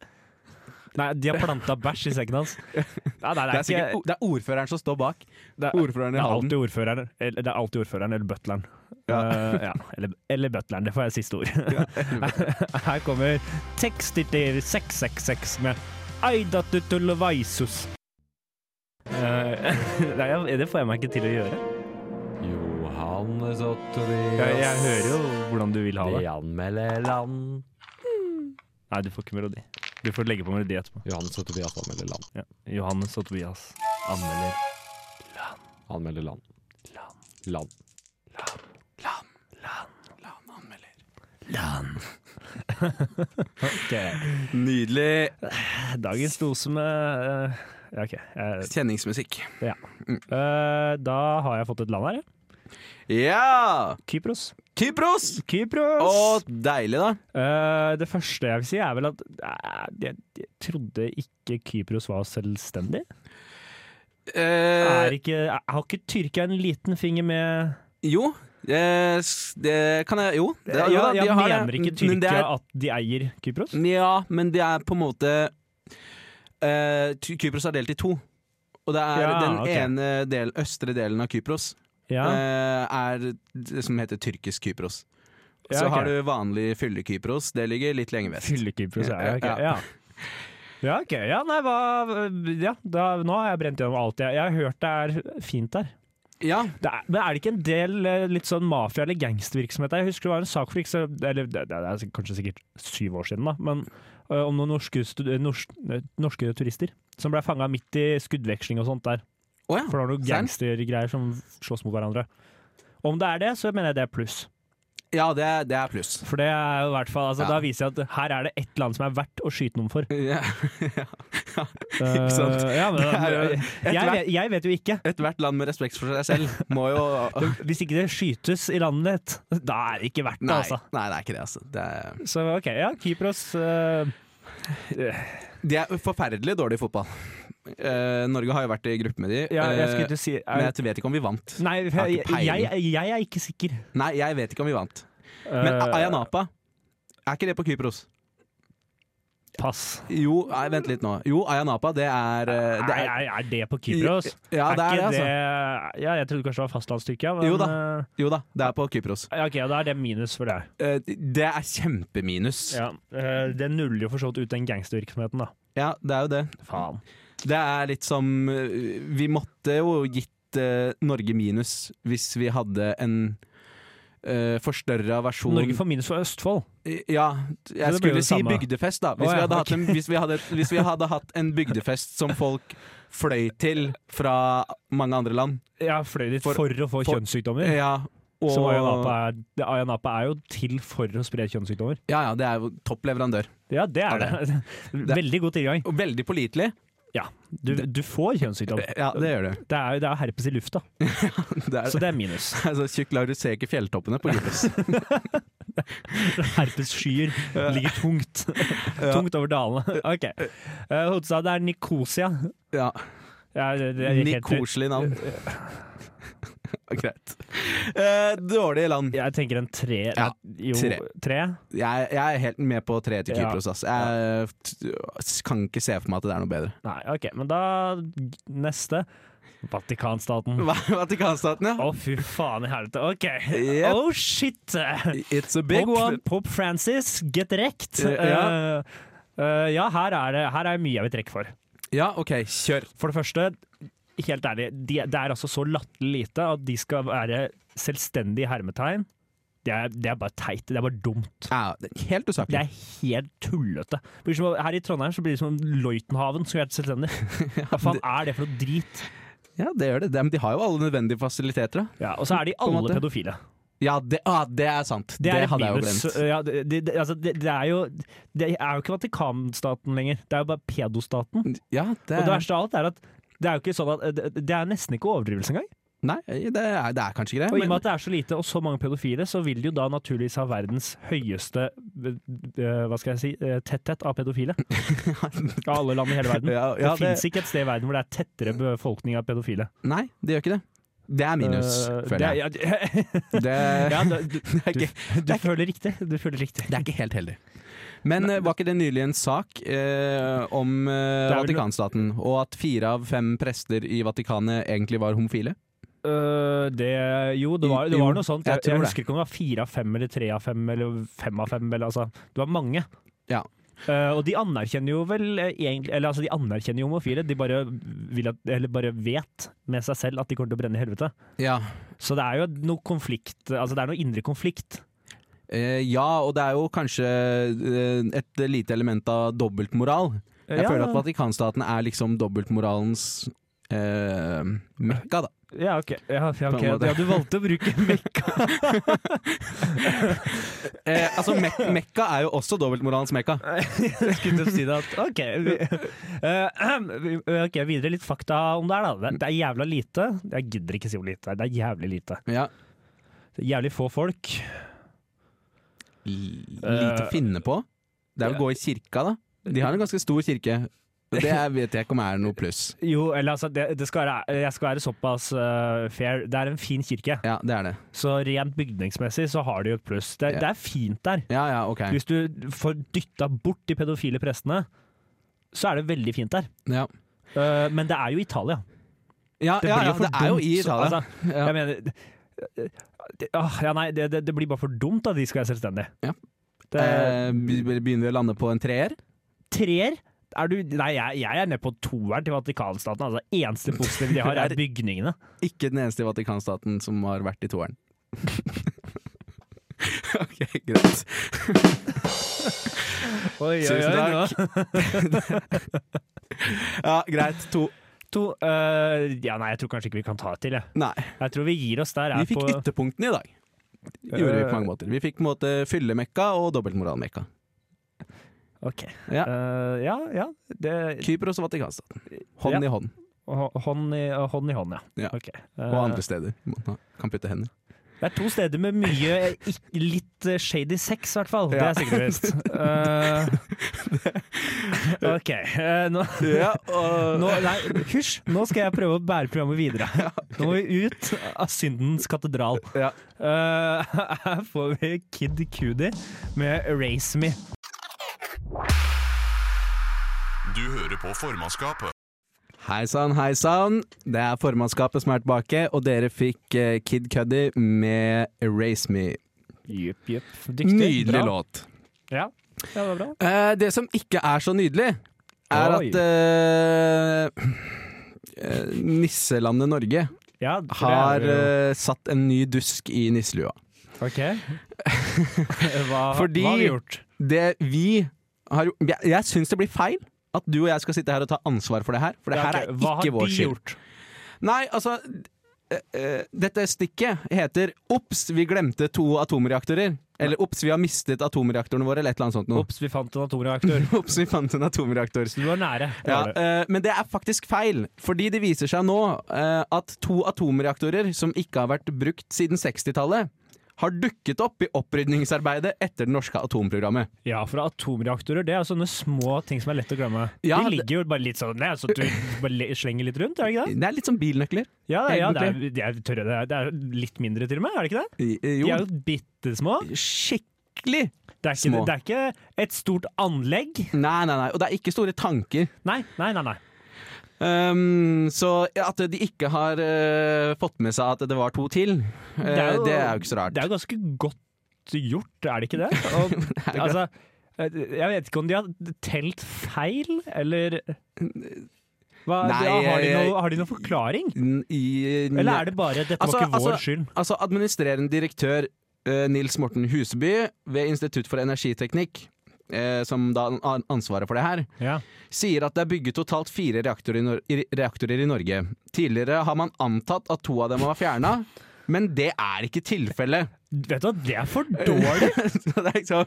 Nei, de har planta bæsj i sekken hans. Nei, nei,
Det er, sikkert, det er ordføreren som står bak.
det er-
Ordføreren i
det er
Halden.
alltid ordføreren eller, det er alltid ordføreren, eller butleren.
Ja.
Eh, ja. Eller, eller butleren, det får jeg siste ord.
[LAUGHS]
[LAUGHS] Her kommer tekster til 666 med Aidatutulvaisus. Eh, [LAUGHS] nei, jeg- det får jeg meg ikke til å gjøre.
Johannes og
Jeg, jeg
Tobias,
hører jo hvordan du vil ha
de
det.
anmelder land.
Nei, du får ikke melodi. Du får legge på melodi etterpå.
Johannes og Tobias anmelder land.
Ja. Johannes og Tobias anmelder
Anmelder land.
Land.
Land.
Land.
[LAUGHS]
ok.
Nydelig
Dagens dose med eh, Ja, OK. Eh,
kjenningsmusikk.
Mm.
eh, da har jeg fått et land her. jeg.
Ja!
Kypros.
Kypros!
Kypros!
Å, deilig, da.
Eh, det første jeg vil si, er vel at eh, jeg, jeg trodde ikke Kypros var selvstendig.
Eh,
er ikke, er, har ikke Tyrkia en liten finger med
jo, eh, s- det kan Eh, jeg Jo. Det, jo
Ja,
da, de
jeg
har det.
Mener ikke
Men det
Tyrkia
er- Mm.
at de eier Kypros?
Ja, men det er på en måte eh, Ty- Kypros er delt i to. Og det er
Ja,
den
ok.
ene del, østre delen av Kypros
Ja.
eh, er det som heter tyrkisk Kypros.
Ja,
Så
ok.
har du vanlig fylle-Kypros. Det ligger litt lenger vest.
Fyllekypros, ja. Ja, ok.
Eh, Ja.
ja. Ja, ok. Ja, nei, hva Ja, da, nå har jeg brent gjennom alt. Jeg, jeg har hørt det er fint der.
Ja,
Det er, men er det ikke en del eh, litt sånn mafia- eller gangstervirksomhet der? Jeg husker det var en sak for ikke så Eller det, det er kanskje sikkert syv år siden, da. Men eh, om noen norske, stu- eh, norsk, eh, norske turister som ble fanga midt i skuddveksling og sånt der.
Å ja.
For det var noen
Serr?
gangstergreier som slåss mot hverandre. Om det er det, så mener jeg det er pluss.
ja det, er- det er pluss. [LAUGHS]
For det er jo i hvert fall altså,
Ja.
Da viser jeg at her er det et eller annet som er verdt å skyte
[LAUGHS]
noen for. [LAUGHS]
Ja, ja. Ikke sant?
Eh, ja, men,
Det er jo-
jeg,
et
vet, jeg vet jo ikke.
Ethvert land med respekt for seg selv må jo
Hvis ikke [LAUGHS] det skytes i landet ditt, da er det ikke verdt det,
Nei,
altså.
nei det er ikke det, altså. Det er,
Så ok, ja, Kypros eh,
de er forferdelig dårlige i fotball. Eh, Norge har jo vært i gruppe med de,
ja, Jeg
eh,
skulle til å si er-
men jeg vet ikke om vi vant.
Nei, jeg,
har ikke
jeg,
peiling.
jeg, er ikke sikker.
Nei, jeg vet ikke om vi vant. Men ah,
Eh,
Ayanapa, er ikke det på Kypros?
Pass.
Jo, nei, vent litt nå. Jo, Ayanapa, det er eh, det
Nei,
er,
er, er det på Kypros?
Ja, det er det,
ikke
altså.
Ja, jeg trodde kanskje det var fastlandstyrkia, men
Jo
da.
Jo da, det er på Kypros.
Ok, da er det minus for deg.
Eh, Det er kjempeminus. Ja.
Ja, eh, det nuller jo for så vidt ut den gangstervirksomheten, da.
det er jo det.
Faen.
Det er litt som eh, Vi måtte jo gitt eh, Norge minus hvis vi hadde en uh, forstørra versjon
Norge får minus for Østfold.
Ja, jeg
det blir jo
skulle
det
si
samme.
bygdefest, da. Hvis,
Å,
vi,
ja,
hadde hatt
ok.
en, hvis, vi, hadde, hvis vi hadde hatt en bygdefest som folk fløy til fra mange andre land.
Jeg har fløy dit
For-
for, å få
for-
kjønnssykdommer.
Ja, og,
Som Ayanapa er, Ayanapa er jo til for å spre kjønnssykdommer.
Ja, ja, det er jo topp leverandør.
Ja, det er
Ja,
det. [LAUGHS] Veldig god tilgang.
Og veldig pålitelig.
Ja, du, du får kjønnssykdom.
Ja, det gjør du.
Det er jo det er herpes i lufta,
Det er,
så det er
[LAUGHS]
minus.
altså, tjukk lag, du ser ikke fjelltoppene på
[LAUGHS]
Juppes.
Herpesskyer ligger
[LAUGHS]
tungt Tungt over dalene. Ok. Eh, hovedstaden er Nikosia.
Ja.
Ja, det, det er helt-
Nikoselig navn. [LAUGHS] Greit. Eh, dårlige land.
Jeg tenker en tre.
Ja,
jo,
tre.
tre?
Jeg, jeg er helt med på tre til
Ja.
Kypros, ass. Jeg t- kan ikke se for meg at det er noe
[LAUGHS]
bedre.
Nei, ok, men da neste. Vatikanstaten. Å,
Hva- Vatikanstaten, ja.
fy faen i helvete. Ok.
Yep.
Oh, shit!
It's a big
Pope,
one.
Pope Francis, get rekt.
Ja.
Eh, eh, ja, her er det her er mye jeg vil trekke for.
Ja, OK, kjør.
For det første, helt ærlig, de, det er altså så latterlig lite at de skal være selvstendige hermetegn. Det er, det er bare teit. Det er bare dumt.
Ja, det er helt
Det
usaklig.
er helt tullete. Det blir som å- Her i Trondheim så blir det som om Løitenhaven skulle
[LAUGHS]
vært selvstendig. Hva faen er det for noe drit?
Ja, det gjør det. Det- Men de har jo alle nødvendige fasiliteter, da.
Ja, og så er de
en
alle
måte.
pedofile.
Ja, det, ah, det er sant. Det,
et
hadde jeg jo
minus.
glemt.
Ja, det, det, det- altså, det, det er jo Det er jo ikke Vatikanstaten lenger. Det er jo bare pedostaten.
Ja, Mm, det
eh, Og det
er,
verste av alt er at det er jo ikke sånn at det- Det er nesten ikke overdrivelse engang.
nei, det er, det er kanskje ikke det.
Og i og
men- [LAUGHS]
med at det er så lite og så mange pedofile, så vil de jo da naturligvis ha verdens høyeste eh, Hva skal jeg si eh, tetthet av pedofile. Av alle land i hele verden.
[LAUGHS] Ja, ja,
det
det-
finnes fins ikke et sted i verden hvor det er tettere befolkning av pedofile.
Nei, det gjør ikke det. Det er minus,
Eh,
føler jeg.
det [LAUGHS] er- ja,
[LAUGHS] Det,
ja, du, du,
det, er
du,
ikke,
du føler riktig. Du føler riktig.
det er ikke helt heldig. Men eh, var ikke det nylig en sak eh, om eh,
Det er vel-
Vatikanstaten, og at fire av fem prester i Vatikanet egentlig var homofile?
Øh, det, jo, det var, det
Jo,
var noe sånt.
jeg
Jeg,
tror
jeg
det.
husker ikke om det var fire av fem eller tre av fem eller fem av fem. Eller, altså, det var mange.
Ja.
Øh, og de anerkjenner jo vel eh, egentlig Eller altså, de anerkjenner jo homofile. De bare, vil at, eller bare vet med seg selv at de kommer til å brenne i helvete.
Ja.
Så det er jo noe konflikt Altså det er noe indre konflikt.
Eh, ja, og det er jo kanskje eh, et lite element av dobbeltmoral. Jeg
Ja.
føler at Vatikanstaten er liksom dobbeltmoralens eh, mekka, da.
Ja, ok. Ja, ja,
På
ok.
en måte.
ja du valgte å bruke
[LAUGHS]
mekka.
Eh, altså, mek mekka er jo også dobbeltmoralens mekka.
Jeg skulle til å si det at OK. Vi, øh, ok, Videre litt fakta om det her, da. Det, det er jævla lite. Jeg gidder ikke si hvor lite det er. Det er jævlig lite.
Ja.
Det er Jævlig få folk.
Lite å
Eh,
finne på. Det er vel å gå i kirka, da. De har en ganske stor kirke. Det er- vet jeg ikke om er noe pluss.
Jo, eller altså, det, det skal være, jeg skal være såpass eh, fair. Det er en fin kirke,
Ja, det er det.
så rent bygningsmessig så har de jo et pluss. Det,
Ja.
det er fint der.
Ja ja, ok.
Hvis du får dytta bort de pedofile prestene, så er det veldig fint der.
Ja.
Eh, men det er jo Italia.
Ja,
Det
ja,
blir
ja,
jo for
det er jo
dumt,
i
så-
Italia.
altså,
Ja.
Jeg mener det, ah, ja, nei, det, det, det blir bare for dumt at de skal være selvstendige.
Ja.
Det,
Eh, be- begynner vi å lande på en treer?
treer? Er du, nei, jeg, jeg er nede på toeren til Vatikanstaten. Altså, eneste positive de
[LAUGHS]
har, er bygningene.
Ikke den eneste i Vatikanstaten som har vært i toeren. [LAUGHS] ok, greit.
Oi,
oi, oi, [LAUGHS] Ja, greit. To.
To, eh, ja, nei, jeg tror kanskje ikke vi kan ta et til. Jeg,
Nei.
jeg tror vi gir oss der.
Vi
Jeg er
fikk
på, Eh.
ytterpunktene i dag. Gjorde vi på mange måter. Vi fikk på en måte fyllemekka og dobbeltmoralmekka.
Ok.
Ja.
Eh, ja, ja. Det,
Kypros og Vatikanstaten. Hånd
Ja.
i hånd.
hå- hånd, i, hånd i hånd, ja.
Ja.
Ok.
Og
Eh,
andre steder. Man kan putte hender.
Det er to steder med mye ikk- litt eh, shady sex, i hvert fall.
Ja.
Det er sikkert og visst.
[LAUGHS]
Eh, ok. eh, nå,
Ja, og
nå, nei, hysj! Nå skal jeg prøve å bære programmet
[LAUGHS]
videre. Nå må vi ut av syndens katedral.
Ja.
Eh, [LAUGHS] her får vi Kid Cudi med 'Erase Me'.
Du hører på formannskapet.
Hei sann, hei sann. Det er formannskapet som er tilbake, og dere fikk eh, Kid Cuddy med 'Erase Me'.
Jupp, jupp.
Nydelig
Bra.
låt.
Ja. ja, det var bra.
Eh, det som ikke er så nydelig, er
Oi.
at eh, eh, nisselandet Norge
Ja, for det
har
er jo-
eh, satt en ny dusk i nisselua. [LAUGHS]
Ok. Hva,
Fordi-
hva har vi gjort?
Det vi har gjort Jeg, jeg syns det blir feil at du og jeg skal sitte her og ta ansvar for det her, for det
Ja,
her
ok,
er
hva har
ikke vår
de
skyld.
gjort?
Nei, altså d- eh, eh, Dette stikket heter 'Ops, vi glemte to atomreaktorer'. Eller ops, vi har mistet atomreaktorene våre, eller et eller annet sånt noe.
Ops, vi fant en
[LAUGHS]
atomreaktor.
Ops, vi fant en atomreaktor.
Så du var nære.
Ja,
var det.
eh, men det er faktisk feil, fordi det viser seg nå eh, at to atomreaktorer som ikke har vært brukt siden 60-tallet, har dukket opp i opprydningsarbeidet etter det norske atomprogrammet.
Ja, for atomreaktorer det er sånne små ting som er lett å glemme.
Ja,
de
det-
ligger jo bare litt sånn ned, så du bare le- slenger litt rundt, er det ikke det?
Det er litt som bilnøkler.
Ja,
Helt
ja det,
borti.
er, det, er, tørre, det, er, det er litt mindre til og med, er det ikke det?
I- eh,
De er
Jo,
jo bitte små.
skikkelig.
Det er, ikke,
Små.
det er ikke et stort anlegg.
Nei, nei, nei. Og det er ikke store tanker.
Nei, nei, nei. nei.
Ehm, så at de ikke har eh, fått med seg at det var to til, eh, det, er jo, ikke så rart.
Det er jo ganske godt gjort, er
[LAUGHS]
det ikke det? Og, altså, jeg vet ikke om de har telt feil, eller hva,
Nei, eh,
har, de
jeg-
noe, har de noen forklaring?
N- i-
Eller er det bare 'dette
Altså,
var ikke vår
altså-
skyld'?
Altså administrerende direktør eh, Nils Morten Huseby ved Institutt for energiteknikk, eh, som da har ansvaret for det her,
Ja.
sier at det er bygget totalt fire reaktorer i, Nor i- reaktorer i Norge. Tidligere har man antatt at to av dem var fjerna, men det er ikke tilfellet. [LAUGHS]
Vet du hva, det er for dårlig!
Så det er liksom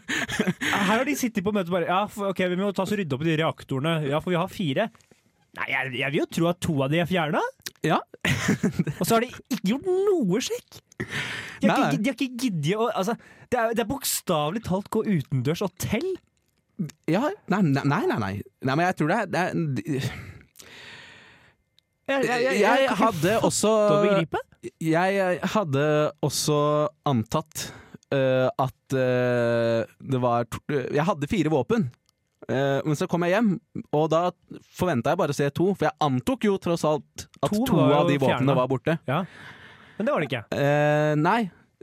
Her har de sittet på møtet og bare 'ja, for, ok, vi må ta oss og rydde opp i de reaktorene', ja, for vi har fire. Nei, jeg, jeg vil jo tro at to av de er fjerna,
Ja.
og så har de ikke gjort noe sjekk! De
Nei,
har
nei.
ikke, de har ikke giddet å altså, Det er, det er bokstavelig talt gå utendørs og tell.
ja nei, nei, nei, nei, nei. Nei, men jeg tror det er, det er
Jeg,
Jeg hadde også
å begripe.
Jeg hadde også antatt eh, at eh, det var to eh, Jeg hadde fire våpen. Eh, men så kom jeg hjem, og da forventa jeg bare å se to. For jeg antok jo tross alt at
To
to,
var jo
av de våpnene
fjernet.
var borte.
Ja. Men det var det ikke.
Eh, nei,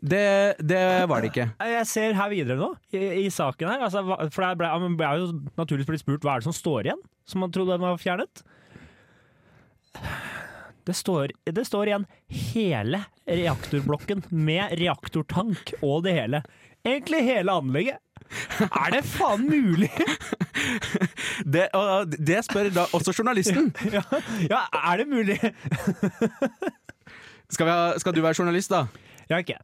det, det var det ikke.
Jeg ser her videre nå, i, i saken her. Altså, hva- for jeg ble, ja, men ble jeg jo naturligvis blitt spurt hva er det som står igjen, som man trodde man var fjernet. Det står, det står igjen hele reaktorblokken med reaktortank og det hele. Egentlig hele anlegget. Er det faen mulig?!
[LAUGHS] Det, og det spør da også journalisten.
Ja, ja er det mulig?
Skal, vi ha, skal du være journalist, da?
Ja, ikke.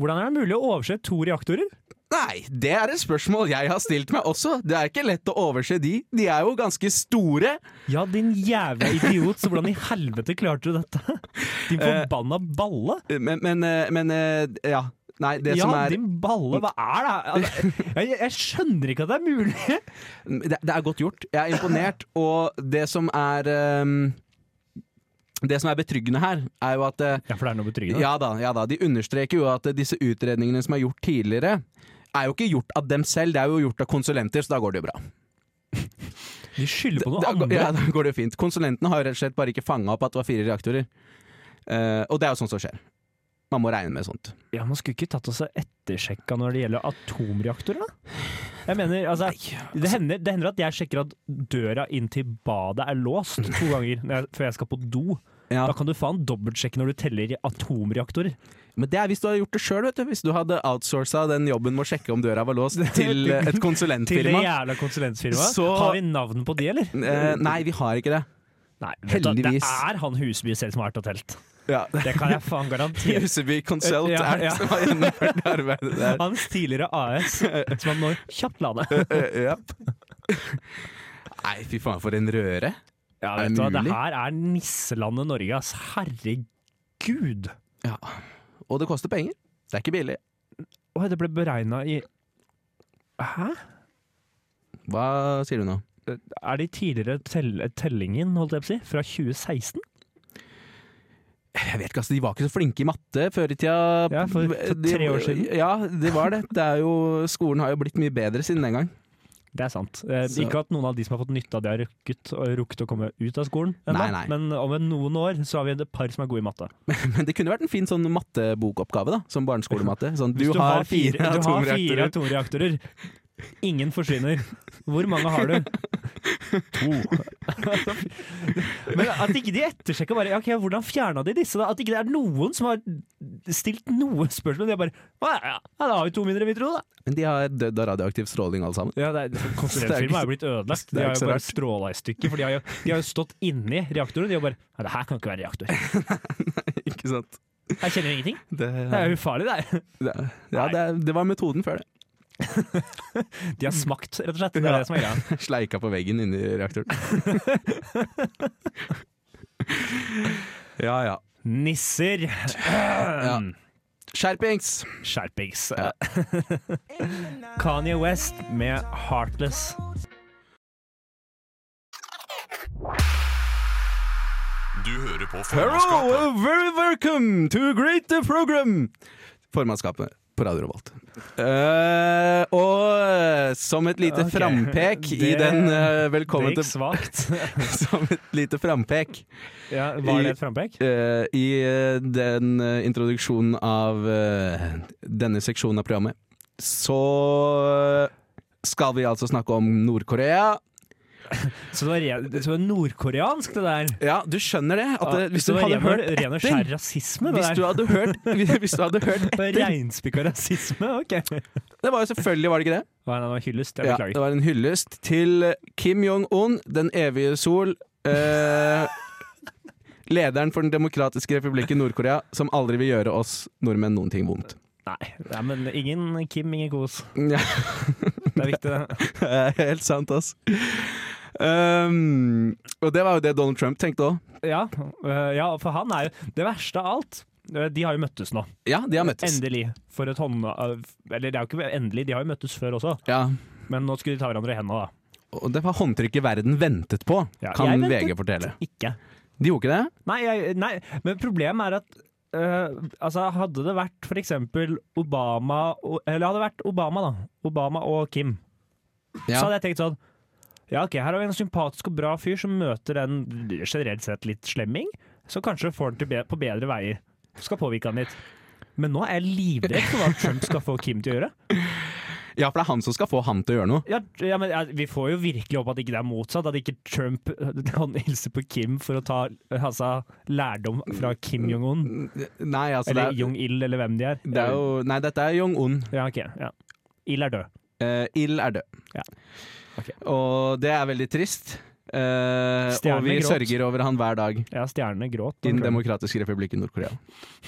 Hvordan er det mulig å overse to reaktorer?
Nei, det er et spørsmål jeg har stilt meg også. Det er ikke lett å overse de. De er jo ganske store.
Ja, din jævla idiot, så hvordan i helvete klarte du dette? Din forbanna balle!
Men, men, eh, men eh, ja. Nei, det
ja,
som er
din balle, hva er det her? Altså, jeg, jeg skjønner ikke at det er mulig!
det, det er godt gjort. Jeg er imponert. Og det som er ehm, Det som er betryggende her, er jo at eh,
[LAUGHS] Ja, for det er noe betryggende.
ja da, ja da, de understreker jo at eh, disse utredningene som er gjort tidligere, er jo ikke gjort av dem selv, det er jo gjort av konsulenter, så da går det jo bra.
De skylder på noen
Da, går-
andre.
ja, da går det jo fint. Konsulentene har jo rett og slett bare ikke fanga opp at det var fire reaktorer. Eh, og det er jo sånt som skjer. Man må regne med sånt.
Ja, Man skulle ikke tatt oss og ettersjekka når det gjelder atomreaktorer, da? Jeg mener, altså, det hender, det hender at jeg sjekker at døra inn til badet er låst
[LAUGHS]
to ganger når jeg, før jeg skal på do.
Ja.
Da kan du faen dobbeltsjekke når du teller i atomreaktorer.
Men det er hvis du hadde gjort det sjøl, vet du. Hvis du hadde outsourca den jobben med å sjekke om døra var
[LAUGHS]
låst, til eh, et
Til det
konsulentfirma.
jævla konsulentfirmaet.
Så-
Har vi navn på de, eller?
Eh, nei, vi har ikke det.
Nei, vet du, det
heldigvis.
er han Husby selv som har vært og telt.
[LAUGHS] Ja.
Det kan jeg faen garantere.
Huseby Consult
Ja,
er det
ja.
som har gjennomført det arbeidet der.
Hans tidligere [LAUGHS] AS, som han nå kjapt la ned.
Eh, japp. Nei, fy faen, for en røre.
Ja,
Er
vet
det
du hva, det
mulig?
her er nisselandet Norge, ass. Herregud.
Ja. Og det koster penger. Det er ikke billig.
Oi, det ble beregna i Hæ?
Hva sier du nå?
Er det i tidligere tell tellingen, holdt jeg på å si, fra 2016?
Jeg vet ikke, altså, De var ikke så flinke i matte før i tida.
Ja, for- for
De-
tre år siden.
Ja, det var det. det er jo, skolen har jo blitt mye bedre siden den gang.
Det er sant. Eh,
Så-
Ikke at noen av de som har fått nytte av det, har rukket, rukket å komme ut av skolen, ennå,
Nei, nei.
men om noen år så har vi et par som er gode i matte.
Men det kunne vært en fin sånn mattebokoppgave, da. Som barneskolematte. Sånn, du,
Hvis
har fire
[LAUGHS] du har fire
atomreaktorer.
atomreaktorer. Ingen forsvinner. Hvor mange
[LAUGHS]
har du? To. [LAUGHS] Men at ikke de ettersjekker bare ok, hvordan fjerna de disse, da? At ikke det er noen som har stilt noen spørsmål. De er bare «Å, ja, ja, ja, da har vi to mindre, vi tror, da.
Men de har dødd av radioaktiv stråling, alle sammen.
Ja, det [LAUGHS] er- Konsulentfirmaet er jo blitt ødelagt. De
Det er liksom, ikke
har jo
så
bare
rart.
stråla i stykker. For de har jo, de har jo stått inni reaktoren. De har bare Nei, det her kan ikke være reaktor.
ikke sant?
Jeg kjenner jo ingenting.
Det,
Det er jo ufarlig, det her.
det, ja, det, det var metoden før det.
De har smakt, rett og slett. Det er det som er greia.
Sleika på veggen inni
[LAUGHS]
reaktoren. ja, ja.
Nisser.
ja. Skjerpings!
Skjerpings. Kanye West med 'Heartless'.
Du hører på
Hello
formannskapet.
and very welcome to great the program! Formannskapet på Radio Revolt. Eh, og som et lite
Ok.
frampek i
Det-
den eh, Velkommen
Det
til
gikk svakt.
[LAUGHS] Som et lite frampek
Ja, var det et frampek?
eh, i eh, den eh, introduksjonen av eh, denne seksjonen av programmet, så skal vi altså snakke om Nord-Korea.
Så det var, re- så det var nordkoreansk, det der?
Ja, du skjønner det? At
Ja,
det, hvis
så
du
det var
hadde
ren og-
hørt
Ren og skjær
etter
rasisme, det
hvis du
der.
hadde hørt, [LAUGHS] hvis du hadde hørt
Det var
etter
Reinspikka rasisme, OK.
Det var jo selvfølgelig, var det ikke det?
Hva er det, det var hyllest? Jeg
Ja,
beklager.
det var en hyllest til Kim Jong-un, den evige sol. Eh, lederen for Den demokratiske republikken Nord-Korea, som aldri vil gjøre oss nordmenn noen ting vondt.
Nei, nei, men ingen Kim, ingen kos.
Ja,
[LAUGHS] Det er viktig, det.
det er [LAUGHS] Helt sant, ass. Um, og det var jo det Donald Trump tenkte òg.
Ja, øh, ja, for han er jo Det verste av alt øh, de har jo møttes nå,
Ja, de har møttes.
endelig. For et hånd... av- Eller det er jo ikke endelig, de har jo møttes før også,
Ja,
men nå skulle de ta hverandre i hendene, da.
og det var håndtrykket verden ventet på,
Ja,
kan
jeg ventet
VG fortelle.
Ikke.
De gjorde ikke det?
Nei, jeg, nei men problemet er at øh, altså Hadde det vært for eksempel Obama og, Eller hadde det vært Obama, da. Obama og Kim. Så
Ja.
hadde jeg tenkt sånn Ja, ok, her har vi en sympatisk og bra fyr som møter en generelt sett litt slemming, så kanskje får han til be på bedre veier. Skal påvirke han litt. Men nå er jeg livredd for hva Trump skal få Kim til å gjøre.
ja, for det er han som skal få ham til å gjøre noe.
Ja, ja, men ja, Vi får jo virkelig håpe at ikke det er motsatt, at ikke Trump øh, kan hilse på Kim for å ta altså, lærdom fra Kim Jong-un,
Nei, altså Mm, det
eller
er,
Jong-il, eller hvem de er.
det er jo Nei, dette er Jong-un.
Ja, ok. Ja. Il er død.
Uh, Ild er død.
Ja. Ok.
Og det er veldig trist. Eh, og
Stjerne
vi
gråt.
sørger over han hver dag
Ja, stjernene gråt.
i Den demokratiske republikken Nord-Korea.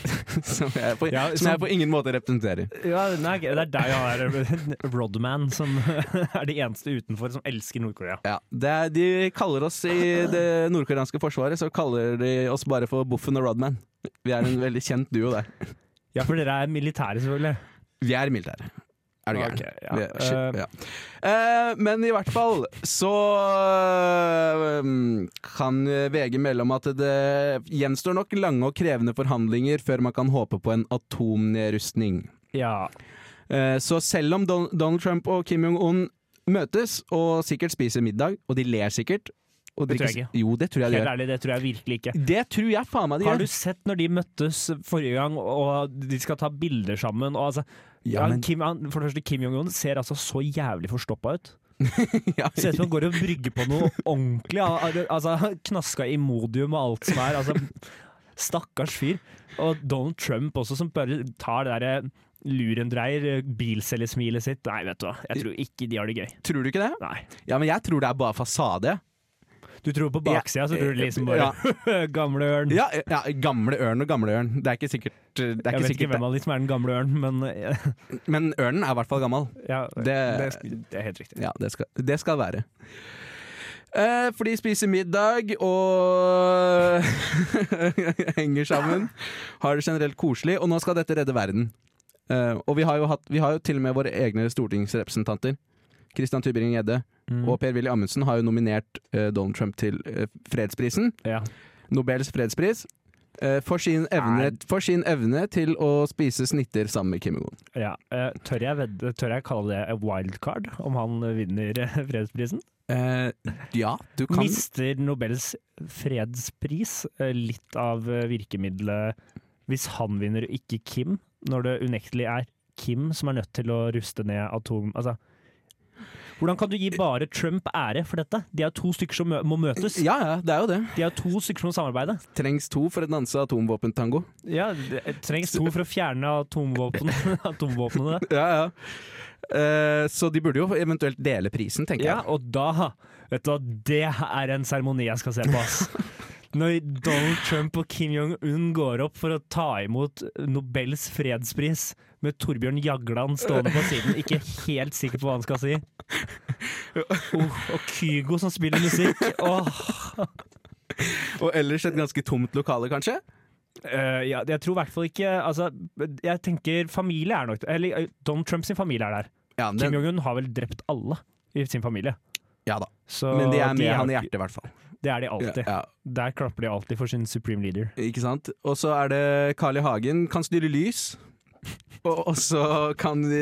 [LAUGHS] som, jeg på,
Ja,
som
som-
jeg på ingen måte representerer.
Ja, nei, det er deg og han der, øh, [LAUGHS] Rodman, som er de eneste utenfor som elsker Nord-Korea.
Ja, det er, de kaller oss i det nordkoreanske forsvaret Så kaller de oss bare for Boffen og Rodman. Vi er en veldig kjent duo der.
Ja, for dere er militære, selvfølgelig.
Vi er militære. Er du gæren?
Ok, ja.
Vi er- shit,
Eh,
ja. Eh, men i hvert fall så eh, kan VG melde om at det gjenstår nok lange og krevende forhandlinger før man kan håpe på en atomnedrustning.
Ja.
Eh, så selv om Don Donald Trump og Kim Jong-un møtes og sikkert spiser middag, og de ler sikkert og
Det tror jeg
drikker-
ikke.
Jo, det tror jeg de
Helt
gjør.
ærlig, det tror jeg virkelig ikke.
Det tror jeg faen meg de
Har du
gjør.
sett når de møttes forrige gang, og de skal ta bilder sammen? Og altså,
Ja,
han
men-
Kim, han, for det første, Kim Jong-un ser altså så jævlig forstoppa ut.
[LAUGHS] Ja,
Ser ut som han går og brygger
[LAUGHS]
på noe ordentlig. Al- al- Altså, han Knaska Imodium og alt som er. Altså, stakkars fyr. Og Donald Trump også, som bare tar det derre lurendreier, eh, bilselgesmilet sitt. Nei, vet du hva, jeg tror ikke de har det gøy.
tror du ikke det?
Nei.
Ja, men jeg tror det er bare fasade.
Du tror på baksida, så tror du liksom bare [LAUGHS] Gamle ørn.
eh, Ja, ja, gamle ørn og gamle ørn. Det er ikke sikkert det er ikke
Jeg vet
sikkert
ikke
det.
hvem av de som er den gamle ørnen, men eh,
Men ørnen er i hvert fall gammel.
ja, det,
Det-
det er helt riktig.
Ja, det skal, det skal være. Eh, for de spiser middag og [LAUGHS] henger sammen. Har det generelt koselig, og nå skal dette redde verden. Eh, og vi har, jo hatt, vi har jo til og med våre egne stortingsrepresentanter. Christian Tybring-Gjedde
Mm.
og Per-Willy Amundsen har jo nominert eh, Donald Trump til eh, fredsprisen.
Ja.
Nobels fredspris. eh, for, sin evne, for sin evne til å spise snitter sammen med Kim Jong-un.
Ja. eh, Tør, jeg vedde, tør jeg kalle det et wildcard, om han vinner eh, fredsprisen?
Eh, ja, du kan
Mister Nobels fredspris eh, litt av eh, virkemidlet hvis han vinner og ikke Kim, når det unektelig er Kim som er nødt til å ruste ned atom... Altså, hvordan kan du gi bare Trump ære for dette? De er to stykker som mø- må møtes.
Ja, ja, det er jo det.
De er to stykker som må samarbeide.
Trengs to for å danse atomvåpentango.
Ja, det trengs to for å fjerne atomvåpen, [LAUGHS] atomvåpnene.
Ja, ja. Eh, så de burde jo eventuelt dele prisen, tenker [LAUGHS]
Ja, og da Vet du hva, det er en seremoni jeg skal se på, ass. når Donald Trump og Kim Jong-un går opp for å ta imot Nobels fredspris med Torbjørn Jagland stående på siden, ikke helt sikker på hva han skal
[LAUGHS]
si. Oh, og Kygo som spiller musikk. Oh.
Og ellers et ganske tomt lokale, kanskje?
Uh, ja, jeg tror i hvert fall ikke altså, Jeg tenker familie er nok Eller eh, Donald Trumps familie er der. Ja, den, Kim Jong-un har vel drept alle i sin familie.
Ja da. Så men de er med de er, han i hjertet, i hvert fall.
Det er de alltid. Ja, ja. Der klapper de alltid for sin supreme leader.
Ikke sant. Og så er det Carl I. Hagen kan styre lys. Og så kan de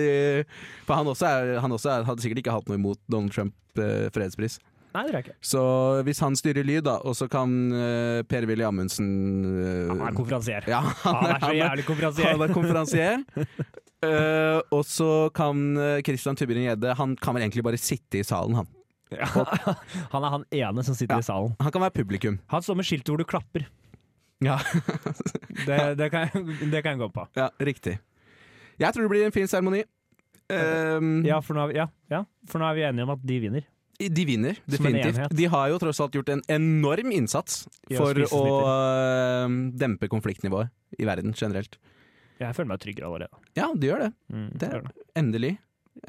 For han også, er, han også er, hadde sikkert ikke hatt noe imot Donald Trump eh, fredspris.
Nei, det er ikke.
Så hvis han styrer lyd, da, og så kan uh, Per-Willy Amundsen uh,
Han er konferansier.
Ja,
han, han, er så jævlig konferansier.
Han er konferansier. uh, og så kan eh, Christian Tybring-Gjedde Han kan vel egentlig bare sitte i salen, han.
[LAUGHS] Ja, han er han ene som sitter ja, i salen.
Han kan være publikum.
Han står med skiltet hvor du klapper.
Ja.
[LAUGHS] det, det, kan, det, kan, jeg gå på.
Ja, Riktig. Jeg tror det blir en fin seremoni. Ehm,
Um, ja, for nå er vi, ja, for nå er vi enige om at de vinner.
De vinner, definitivt. De har jo tross alt gjort en enorm innsats for å uh, dempe konfliktnivået i verden generelt.
Jeg føler meg tryggere allerede.
Ja, de gjør det. Mm, det, gjør det. Endelig.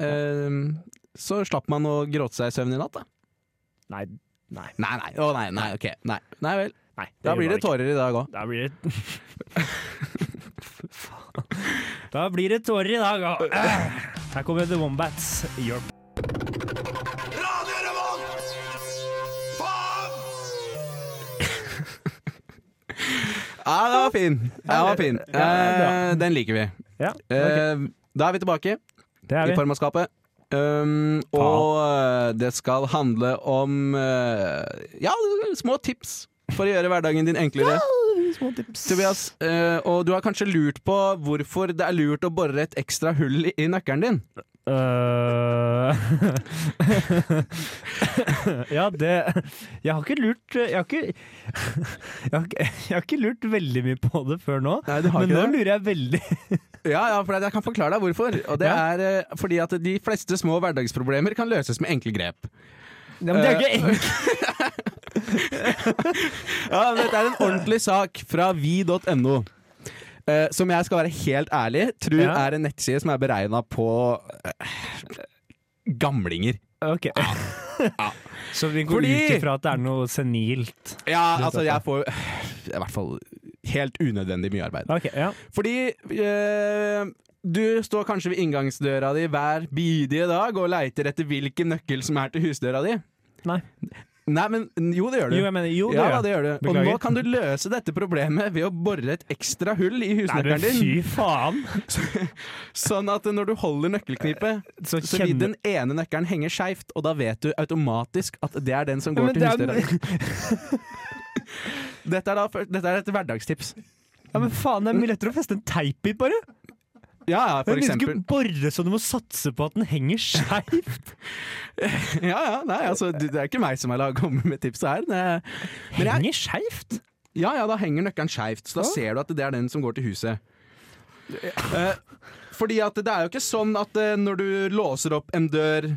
Uh, så slapp man å gråte seg i søvn i natt, da.
Nei. Nei.
Nei, nei. Å, nei, nei, ok. Nei, nei vel. Nei, da blir det tårer ikke. i dag òg.
Da blir det [LAUGHS] Da blir det tårer i dag
[LAUGHS]
òg. Her kommer The Wombats. Your
Ja, den var fin. Den, var fin. Ja, den liker vi. Ja, okay. Da er vi tilbake er Eh, vi. i formannskapet. Um, og eh, det skal handle om eh, ja, små tips for å gjøre hverdagen din enklere. Tobias, eh, og du har kanskje lurt på hvorfor det er lurt å bore et ekstra hull i nøkkelen din?
Uh, [LAUGHS] ja, det Jeg har ikke lurt Jeg har ikke, [LAUGHS] jeg har ikke, jeg har ikke lurt veldig mye på det før nå,
Nei,
men nå
det.
lurer jeg
[LAUGHS]
veldig.
ja, ja, for jeg kan forklare deg hvorfor. Og det er eh, fordi at de fleste små hverdagsproblemer kan løses med enkle grep.
Ja, men det er ikke enkelt!
ja, men dette er en ordentlig sak fra vi.no. Eh, som jeg skal være helt ærlig, tror ja. er en nettside som er beregna på eh, gamlinger.
[LAUGHS] Ok ja. Ja. Så vi går Fordi, ut ifra at det er noe senilt?
Ja, altså jeg får eh, i hvert fall helt unødvendig mye arbeid.
Okay,
Fordi eh, du står kanskje ved inngangsdøra di hver bidige dag og leiter etter hvilken nøkkel som er til husdøra di.
Nei.
Nei, men jo, det gjør du.
Jo, mener, jo, det
ja,
gjør.
det gjør du. Og Beklager. nå kan du løse dette problemet ved å bore et ekstra hull i husnøkkelen din.
Fy faen!
sånn at når du holder nøkkelknippet, [LAUGHS] så, så vil den ene nøkkelen henge skeivt, og da vet du automatisk at det er den som går ja, til husdøra. dette, er da, dette er et hverdagstips.
[LAUGHS] Ja, Men faen, det er mye lettere å feste en teip i, bare.
Ja, ja, for
men
eksempel.
Men ikke bore så du må satse på at den henger skeivt!
ja, ja. Nei, altså, det er ikke meg som har kommet med tipset her. Det,
henger skeivt?
Ja, ja, da henger nøkkelen skeivt. Så da ja. ser du at det er den som går til huset. Eh, fordi at det er jo ikke sånn at når du låser opp en dør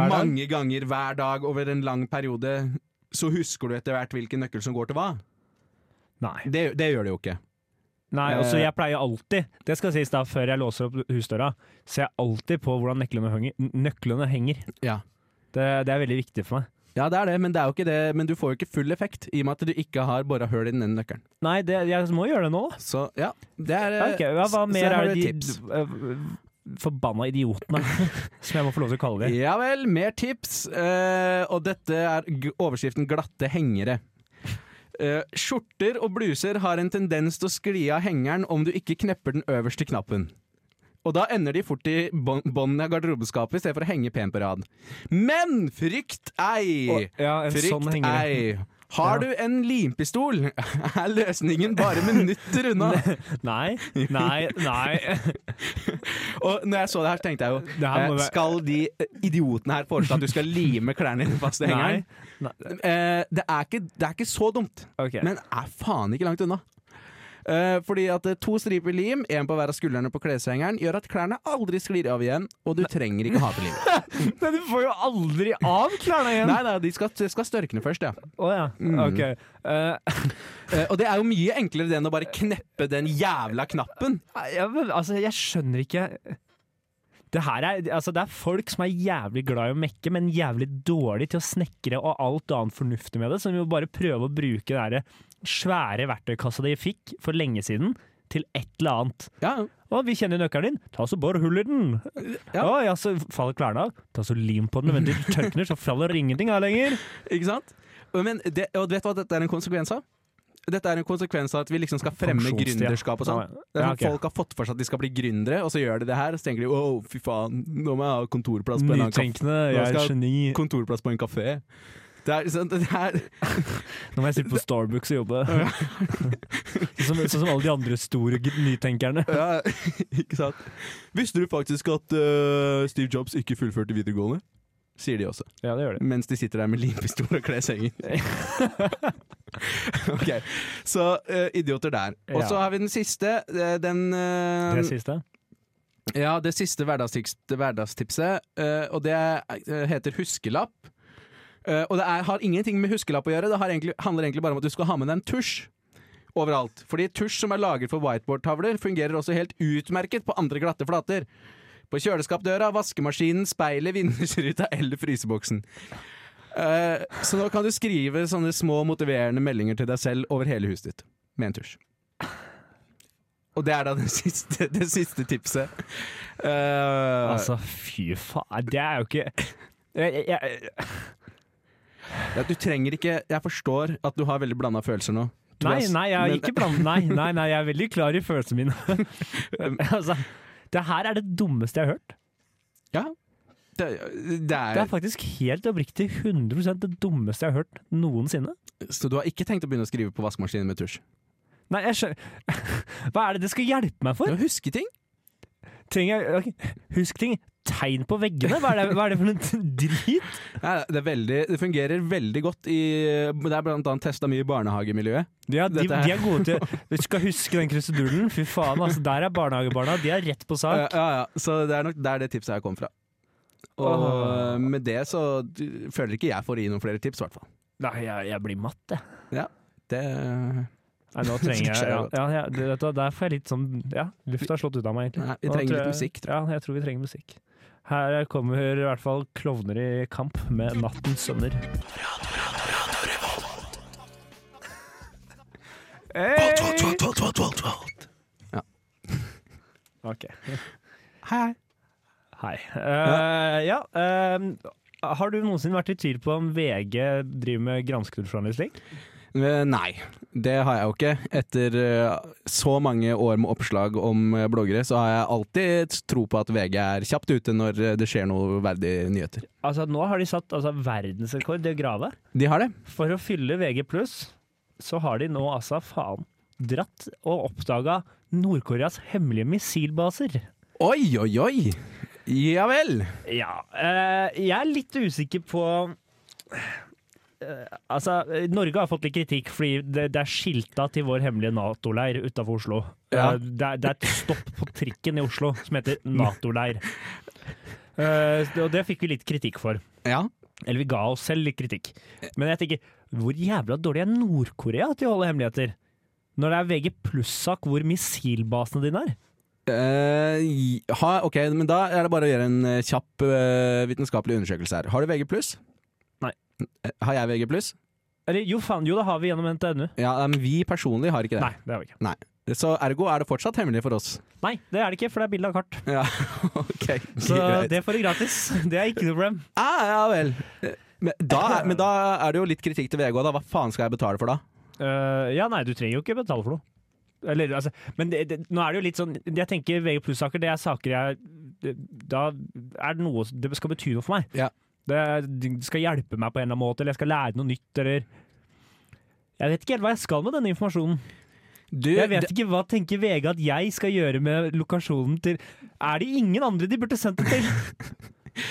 mange ganger hver dag over en lang periode, så husker du etter hvert hvilken nøkkel som går til hva.
Nei.
det, det gjør det jo ikke.
Nei, altså jeg pleier alltid Det skal sies da før jeg låser opp husdøra, ser jeg alltid på hvordan nøklene henger. Nøklene henger.
Ja.
Det, det, er veldig viktig for meg.
Ja, det er det, men, det er det, men du får jo ikke full effekt i og med at du ikke har bora hull i den ene nøkkelen.
Nei, jeg må gjøre det nå.
Så ja, det er eh,
okay, ja, Hva mer er det tips? De, eh, forbanna idiotene, [LAUGHS] som jeg må få lov til å kalle dem.
Ja vel, mer tips. Uh, og dette er overskriften 'glatte hengere'. Uh, skjorter og bluser har en tendens til å skli av hengeren om du ikke knepper den øverste knappen. Og da ender de fort i båndene av garderobeskapet i stedet for å henge pent på rad. Men frykt ei! Oh,
ja,
frykt
sånn
ei! Har ja. du en limpistol, [LAUGHS] er løsningen bare minutter [LAUGHS] unna.
[LAUGHS] nei, nei,
[LAUGHS]
nei.
og når jeg så det her, så tenkte jeg jo eh, Skal de idiotene her foreslå at du skal lime klærne dine fast i hengeren? Eh, det, er ikke, det, er ikke, så dumt,
okay.
men er faen ikke langt unna. Eh, fordi at eh, to striper lim, én på hver av skuldrene på kleshengeren, gjør at klærne aldri sklir av igjen, og du trenger ikke ha til [LAUGHS] livet.
[LAUGHS] Men du får jo aldri av klærne igjen!
Nei, Mm. nei, de skal, skal størkne først, ja.
Å ja. Ok. Eh,
Eh, og det er jo mye enklere det enn å bare kneppe den jævla knappen.
ja, men altså, jeg skjønner ikke det her er, altså, det er folk som er jævlig glad i å mekke, men jævlig dårlig til å snekre og alt annet fornuftig med det, som jo bare prøver å bruke den derre svære verktøykassa de fikk for lenge siden, til et eller annet.
Ja,
Å, vi kjenner nøkkelen din. Ta så bor hull i den.
Ja.
Å, ja, så faller klærne av. Ta så lim på den, men du tørkner, så faller ingenting av
[LAUGHS]
lenger.
ikke sant? Og Men det, og vet du hva dette er en konsekvens av? Dette er en konsekvens av at vi liksom skal fremme
Pensjonstida.
gründerskap og sånn. Det er
Ja,
sånn
ok.
Folk har fått for seg at de skal bli gründere, og så gjør de det her. Og så tenker de wow, fy faen, nå må jeg ha kontorplass på en annen kafé.
Nytenkende, jeg
Nå
er
skal-
geni.
Kontorplass på en kafé. Det er, sånn, det er,
Nå må jeg sitte på Starbucks og
[LAUGHS]
jobbe. Sånn som, sånn som alle de andre store g- nytenkerne.
ja, [LAUGHS] ikke sant? Visste du faktisk at øh, Steve Jobs ikke fullførte videregående? Sier de også.
Ja, det gjør det.
Mens de sitter der med limpistol og
[LAUGHS]
kleshenger. ok, så øh, idioter der. Og så
Ja.
har vi den siste. øh, Den øh,
Det siste.
Ja, det siste hverdagstips, hverdagstipset, eh, og det eh, heter huskelapp. Eh, og det er, har ingenting med huskelapp å gjøre, det har egentlig, handler egentlig bare om at du skal ha med deg en tusj overalt. Fordi tusj som er lagret for whiteboardtavler, fungerer også helt utmerket på andre glatte flater. På kjøleskapdøra, vaskemaskinen, speilet, vindusruta [LAUGHS] eller fryseboksen. Eh, så nå kan du skrive sånne små motiverende meldinger til deg selv over hele huset ditt med en tusj. Og det er da det [LAUGHS] siste, det siste tipset. Eh,
Altså, fy faen. Det er jo ikke jeg, jeg, jeg,
ja, du trenger ikke Jeg forstår at du har veldig blanda følelser nå. Du
Nei,
har s-
nei, jeg er
men-
ikke blant, nei, nei, nei, jeg er veldig klar i følelsene mine. [LAUGHS] altså, det her er det dummeste jeg har hørt.
Ja. Det, det er,
Det er faktisk helt oppriktig 100 det dummeste jeg har hørt noensinne.
Så du har ikke tenkt å begynne å skrive på vaskemaskinen med tusj?
Nei, jeg skjønner [LAUGHS] Hva er det det skal hjelpe meg
Du
for?
har husketing!
Trenger jeg ok, Husk ting. Tegn på veggene? Hva er det, hva er det for noe [LAUGHS] drit?
Nei, det, er veldig, det fungerer veldig godt i Det er blant annet testa mye i barnehagemiljøet.
Ja, de,
Dette her-
de er gode
[LAUGHS]
til Du skal huske den krusedulen. Fy faen, altså. Der er barnehagebarna. De er rett på
Ja,
sak.
Eh, ja, ja. Så det er nok der det tipset her kom fra. Og eh,
Åh.
med det så du- føler ikke jeg får gi noen flere tips, i hvert fall.
Nei, jeg, jeg blir matt, jeg.
Det
Nei,
[LAUGHS]
nå trenger jeg ja,
Skjønner
ja, ja, det- vet du hva, Der får jeg litt sånn Ja, lufta er slått ut av meg, egentlig.
Nei, vi
Nå
trenger
tror
litt
jeg-
musikk,
Ja, jeg tror vi trenger musikk. Her kommer i hvert fall 'Klovner i kamp' med 'Nattens sønner'. Hey! Ok,
Hei, hei.
Hei. Eh, ja, ehm, har du noensinne vært i tvil på om VG driver med granskende journalistikk?
Eh, Nei, det har jeg jo ikke. Etter eh, så mange år med oppslag om eh, bloggere, så har jeg alltid tro på at VG er kjapt ute når eh, det skjer noe verdig nyheter.
Altså, nå har de satt altså, verdensrekord i å grave.
De har det.
For å fylle VG+, så har de nå altså faen dratt og oppdaga Nord-Koreas hemmelige missilbaser.
Oi, oi, oi! Ja vel!
Ja, eh, jeg er litt usikker på eh, Altså, eh, Norge har fått litt kritikk fordi det, det er skilta til vår hemmelige Nato-leir utafor Oslo.
Ja.
Eh, det, er, det er et stopp på trikken i Oslo som heter Nato-leir. Eh, det- og det fikk vi litt kritikk for.
Ja.
Eller vi ga oss selv litt kritikk. Men jeg tenker, hvor jævla dårlig er Nord-Korea til å holde hemmeligheter? Når det er VG pluss-sak hvor missilbasene dine er?
Eh, i- ha, ok, men da er det bare å gjøre en eh, kjapp eh, vitenskapelig undersøkelse her. Har du VG+.
Nei.
Eh, Har jeg VG+.
Eller jo, faen, jo, det har vi gjennom NTNU.
Ja, nei, men vi personlig har ikke det.
Nei, det har vi ikke.
Så ergo er det fortsatt hemmelig for oss.
Nei, det er det ikke, for det er bilde av kart.
Ja, [LAUGHS] ok.
Så
[LAUGHS] greit.
det får du gratis. Det er ikke noe problem.
Ah, ja vel. Men eh, da, er- men da er det jo litt kritikk til VG òg, da. Hva faen skal jeg betale for da?
Eh, ja, nei, du trenger jo ikke betale for noe. Eller, altså, men det, det, nå er det jo litt sånn Jeg tenker VG pluss-saker, det er saker jeg det- Da er det noe som- Det skal bety noe for meg.
Ja.
Det, er- det skal hjelpe meg på en eller annen måte, eller jeg skal lære noe nytt, eller Jeg vet ikke helt hva jeg skal med denne informasjonen.
Du,
Jeg vet
det-
ikke Hva tenker VG at jeg skal gjøre med lokasjonen til Er det ingen andre de burde sendt det til?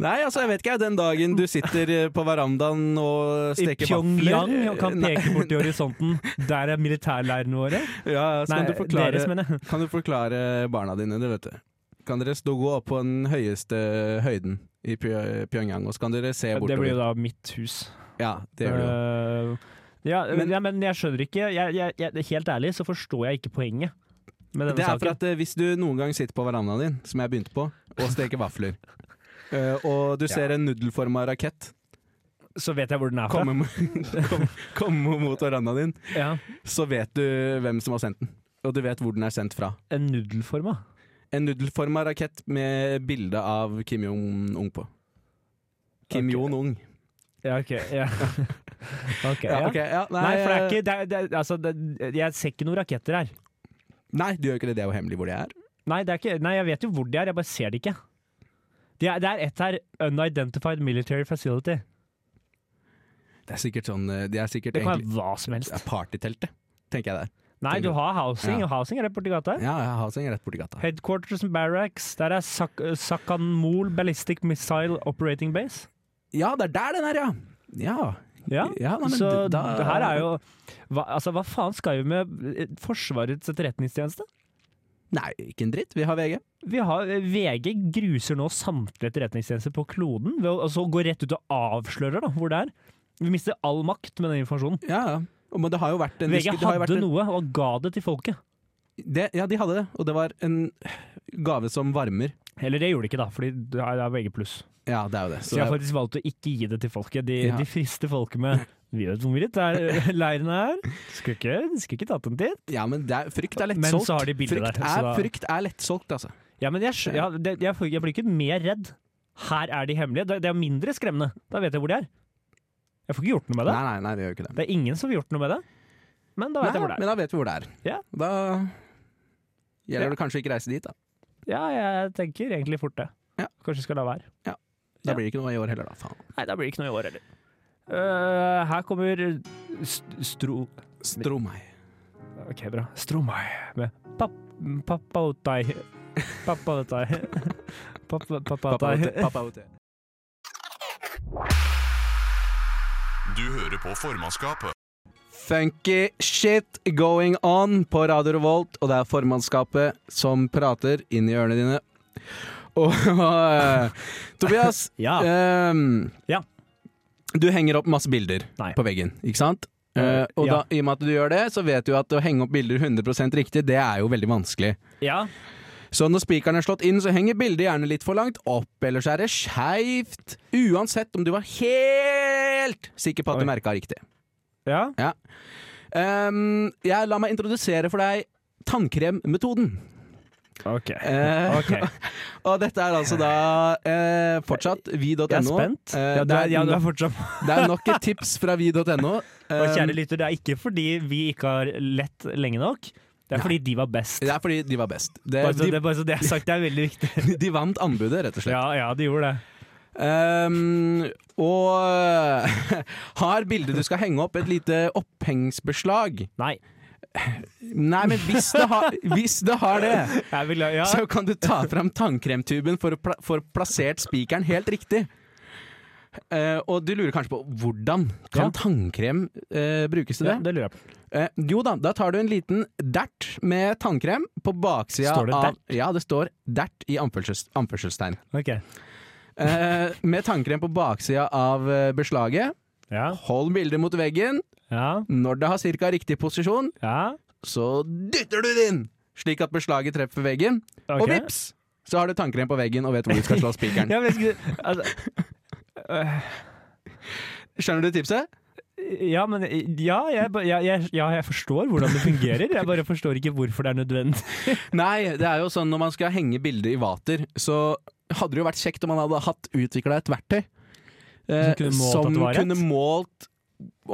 Nei, altså, jeg vet ikke. jeg. Den dagen du sitter eh, på verandaen og
I
[LAUGHS] steker
Pyongyang
vafler Eh,
og kan
Nei,
peke bort i horisonten. Der er militærleirene våre.
Ja, så
Nei,
kan du forklare
deres, mener jeg.
Kan du forklare barna dine det, vet du? Kan dere stå gå opp på den høyeste høyden i Py- Pyongyang, og så kan dere se
Det blir jo
bortover?
da mitt hus.
Ja, det gjør du. jo.
Eh, ja,
Men-
men, ja, men jeg skjønner ikke. Jeg, jeg, jeg, helt ærlig så forstår jeg ikke poenget med denne
Det er for
saken.
at eh, hvis du noen gang sitter på verandaen din, som jeg begynte på, og steker vafler, [LAUGHS] eh, og du ser en nudelforma rakett
Så vet jeg hvor den er fra.
komme, mo- [LAUGHS] kom- komme mot verandaen din,
Ja.
så vet du hvem som har sendt den. Og du vet hvor den er sendt fra.
En nudelforma.
En nudelforma rakett med bilde av Kim Jong-un på. Kim
Ok.
Jong-un.
Ja, OK. Ja. [LAUGHS] Ok,
Ja,
ja.
ok, ja, nei,
Nei, for det er
eh,
ikke det er, det er, altså, det, Jeg ser ikke noen raketter her.
eh, nei, du gjør ikke det. Det er jo hemmelig hvor det er.
Nei, det er ikke, nei, jeg vet jo hvor de er, jeg bare ser det ikke. Det er, det er ett her. Unidentified Military Facility.
Det er sikkert sånn eh, Det er sikkert
Det kan
egentlig
være hva som
det er
helst.
partyteltet, tenker jeg der.
Nei, du har housing,
Ja.
og housing er rett borti gata.
Ja, ja, Haseng er rett borti gata.
Headquarters and Barracks. Der er Sak Sakanmol Ballistic Missile Operating Base.
Ja, det er der den er, ja! Ja.
Ja,
Ja, nei, men
så
da-
det her er jo hva, altså, hva faen skal vi med eh, Forsvarets etterretningstjeneste?
Nei, ikke en dritt. Vi har VG.
Vi har, eh, VG gruser nå samtlige etterretningstjenester på kloden ved å altså, gå rett ut og avslører da, hvor det er. Vi mister all makt med den informasjonen.
Ja, ja. Og- Men det har jo vært en
VG
disku- det har jo vært
hadde
en-
noe og ga det til folket.
Det, ja, de hadde det, og det var en gave som varmer.
Eller det gjorde de ikke, da, fordi det er det er VG+.
Ja, det er jo det.
Så jeg har faktisk valgt å ikke gi det til folket. De,
Ja.
de frister folket med Vi vet hvor mye [LAUGHS] der leiren er. Skulle ikke, skulle ikke tatt en tid.
ja, men det er, frykt er
Men
lettsolgt.
så har de bildet
frykt,
der, så
er,
da-
frykt er lettsolgt, altså.
Ja, men jeg, skjø- ja, det, jeg, får- jeg blir ikke mer redd. Her er de hemmelige. Det, det er mindre skremmende. Da vet jeg hvor de er. Jeg får ikke gjort noe med det.
Nei, nei, nei, det gjør jo ikke det.
Det er ingen som får gjort noe med det. Men da vet jeg hvor
Men
det
da
er.
vet vi hvor det er.
Ja.
Da gjelder
Ja.
det kanskje ikke reise dit, da.
Ja, jeg tenker egentlig fort det.
Ja.
Kanskje jeg skal la være.
Da
Ja.
blir det ikke noe i år heller, da. Faen.
Nei, da blir det ikke noe i år heller. Øh, her kommer st Stro...
Stro meg.
Ok, bra. Stromai med pap papautai.
[LAUGHS]
Papautai. Pap
Pappa
papautai.
ute. Pappa ute.
Du hører på formannskapet.
Funky shit going on på Radio Revolt, og det er formannskapet som prater inn i ørene dine. Og [LAUGHS] eh, Tobias,
Ja.
ehm,
Ja.
du henger opp masse bilder
Nei.
på veggen, ikke sant? Eh,
Eh,
og da,
ja.
i og med at du gjør det, så vet du at å henge opp bilder 100 riktig, det er jo veldig vanskelig.
ja.
Så når spikeren er slått inn, så henger bildet gjerne litt for langt opp, eller så er det skeivt. Uansett om du var helt sikker på at du
Oi.
merka riktig.
Ja.
Ehm, jeg la meg introdusere for deg tannkremmetoden.
OK.
Eh,
Ok.
[LAUGHS] Og dette er altså da eh, fortsatt vi.no.
Jeg er spent.
Eh,
ja, du
det,
er, ja,
er
du er
no,
fortsatt
det er nok et tips fra vi.no.
Og
Ehm,
kjære lytter, det er ikke fordi vi ikke har lett lenge nok. Det er fordi de var best.
det er fordi de var best. Det,
Bare så
Eh, de,
det, bare så det er sagt, det er veldig viktig.
[LAUGHS] de vant anbudet, rett og slett.
Ja, ja, de gjorde det.
Ehm, og [LAUGHS] har bildet du skal henge opp, et lite opphengsbeslag?
Nei.
Nei, men hvis det har, hvis det, har det,
Jeg vil, [LAUGHS] ja.
så kan du ta fram tannkremtuben for å pla for plassert spikeren helt riktig. Eh, og du lurer kanskje på hvordan kan
Ja.
tannkrem eh, brukes til det?
ja, det lurer jeg på.
Eh, jo da, da tar du en liten dert med tannkrem på baksida
Står det
av
dert?
Ja, det står dert i anførsels, anførselstegn.
Ok.
Eh, med tannkrem på baksida av eh, beslaget.
Ja,
Hold bildet mot veggen.
ja,
Når det har cirka riktig posisjon,
ja.
så dytter du det inn, slik at beslaget treffer veggen.
ok.
Og vips, så har du tannkrem på veggen og vet hvor du skal slå spikeren.
[LAUGHS] Ja, men jeg skulle, altså,
Skjønner du tipset?
ja, men ja jeg, ba- ja, jeg, ja, jeg forstår hvordan det fungerer. Jeg bare forstår ikke hvorfor det er nødvendig.
Nei, det er jo sånn når man skal henge bildet i vater, så hadde det jo vært kjekt om man hadde hatt utvikla et verktøy eh, som
Som kunne målt at det var rett.
kunne målt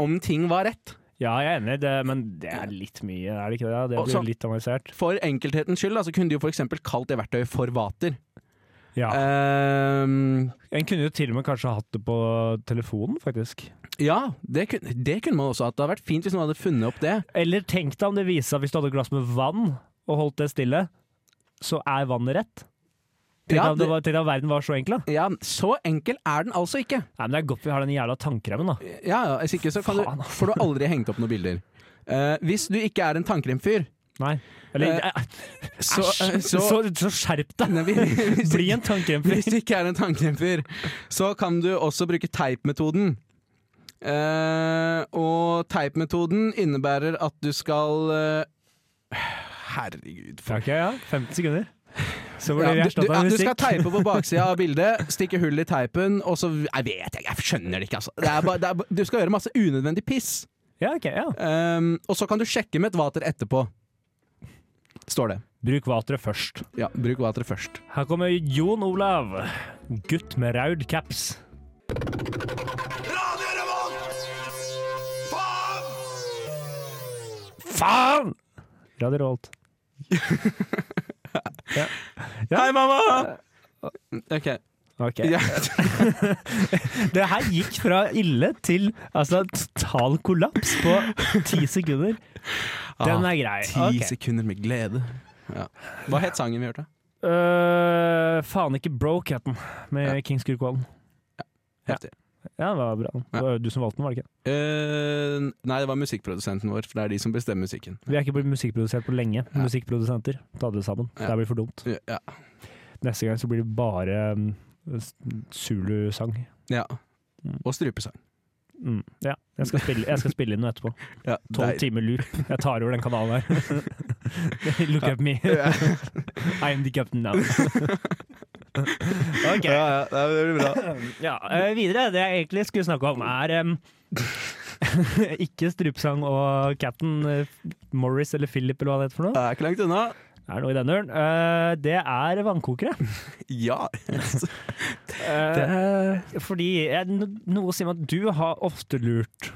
om ting var rett.
Ja, jeg er enig, det, men det er litt mye, er det ikke det? Det
Også-
blir litt avansert.
For enkelthetens skyld da, så kunne de jo f.eks. kalt det verktøyet for vater.
Ja.
Ehm,
En kunne jo til og med kanskje hatt det på telefonen, faktisk.
ja, det kunne, det kunne man også hatt. Det hadde vært fint hvis noen hadde funnet opp det.
Eller tenk deg om det viser seg at hvis du hadde et glass med vann og holdt det stille, så er vannet rett. Tenk
Ja,
om det var- tenk om verden var så enkel, da.
Ja, så enkel er den altså ikke.
Nei, men det er godt vi har den jævla tannkremen, da.
Ja, ja, Hvis ikke så kan
Faen, altså.
du, får du aldri hengt opp noen bilder. Eh, hvis du ikke er en tannkremfyr,
Nei. Eller,
Eh,
æ-
så,
æsj, så,
så,
[LAUGHS] så skjerp deg!
Nei, hvis-
Bli en tannkremfri.
[LAUGHS] Hvis du ikke er en tannkremfyr, så kan du også bruke teipmetoden. Eh, og teipmetoden innebærer at du skal eh, Herregud. For,
Ok, ja. 15 sekunder. Så blir
ja,
vi
du, du,
erstatta
ja,
av
du skal
musikk. [LAUGHS]
teipe på baksida av bildet, stikke hull i teipen, og så Jeg vet ikke, jeg skjønner det ikke, altså. Det er bare, det er, ba- du skal gjøre masse unødvendig piss.
Ja, ok, ja.
Um, og så kan du sjekke med et vater etterpå. Står det.
Bruk vateret først.
Ja, bruk vateret først.
Her kommer Jon Olav, gutt med raud caps.
Radio Revolt! Faen!
Faen! Radio
[LAUGHS]
Rolt. ja. Hei, mamma!
Ok.
Ok.
Ja.
eh, Det her gikk fra ille til altså, total kollaps på ti sekunder. Den er grei.
Ah, Ti
Ok.
sekunder med glede. Ja. Hva het sangen vi hørte?
Øh, faen ikke broke het den, med Kings Kurkvollen.
Heftig.
Ja, det var bra. Det var jo du som valgte den, var det ikke?
Eh, nei, det var musikkprodusenten vår, for det er de som bestemmer musikken.
Vi er ikke blitt musikkprodusert på lenge. Musikkprodusenter, ta det sammen.
Ja.
Det blir for dumt.
Ja.
Neste gang så blir det bare um, s- Zulu-sang.
ja. Og strupesang.
Mm. Ja, jeg skal, spille, jeg skal spille inn noe etterpå.
Ja,
Tolv
deil-
timer loop. Jeg tar over den kanalen her. [LAUGHS] Look at me. I am the captain now. [LAUGHS] Ok.
Ja, ja, det blir bra.
Ja, eh, videre. Det jeg egentlig skulle snakke om, er em, [LAUGHS] ikke strupsang og Captain eh, Morris eller Philip eller hva det heter for
Det
noe.
er ikke langt unna.
Er det noe i den duren? Eh, det er
[LAUGHS]
vannkokere.
Ja.
Eh, fordi eh, no, noe sier meg at du har ofte lurt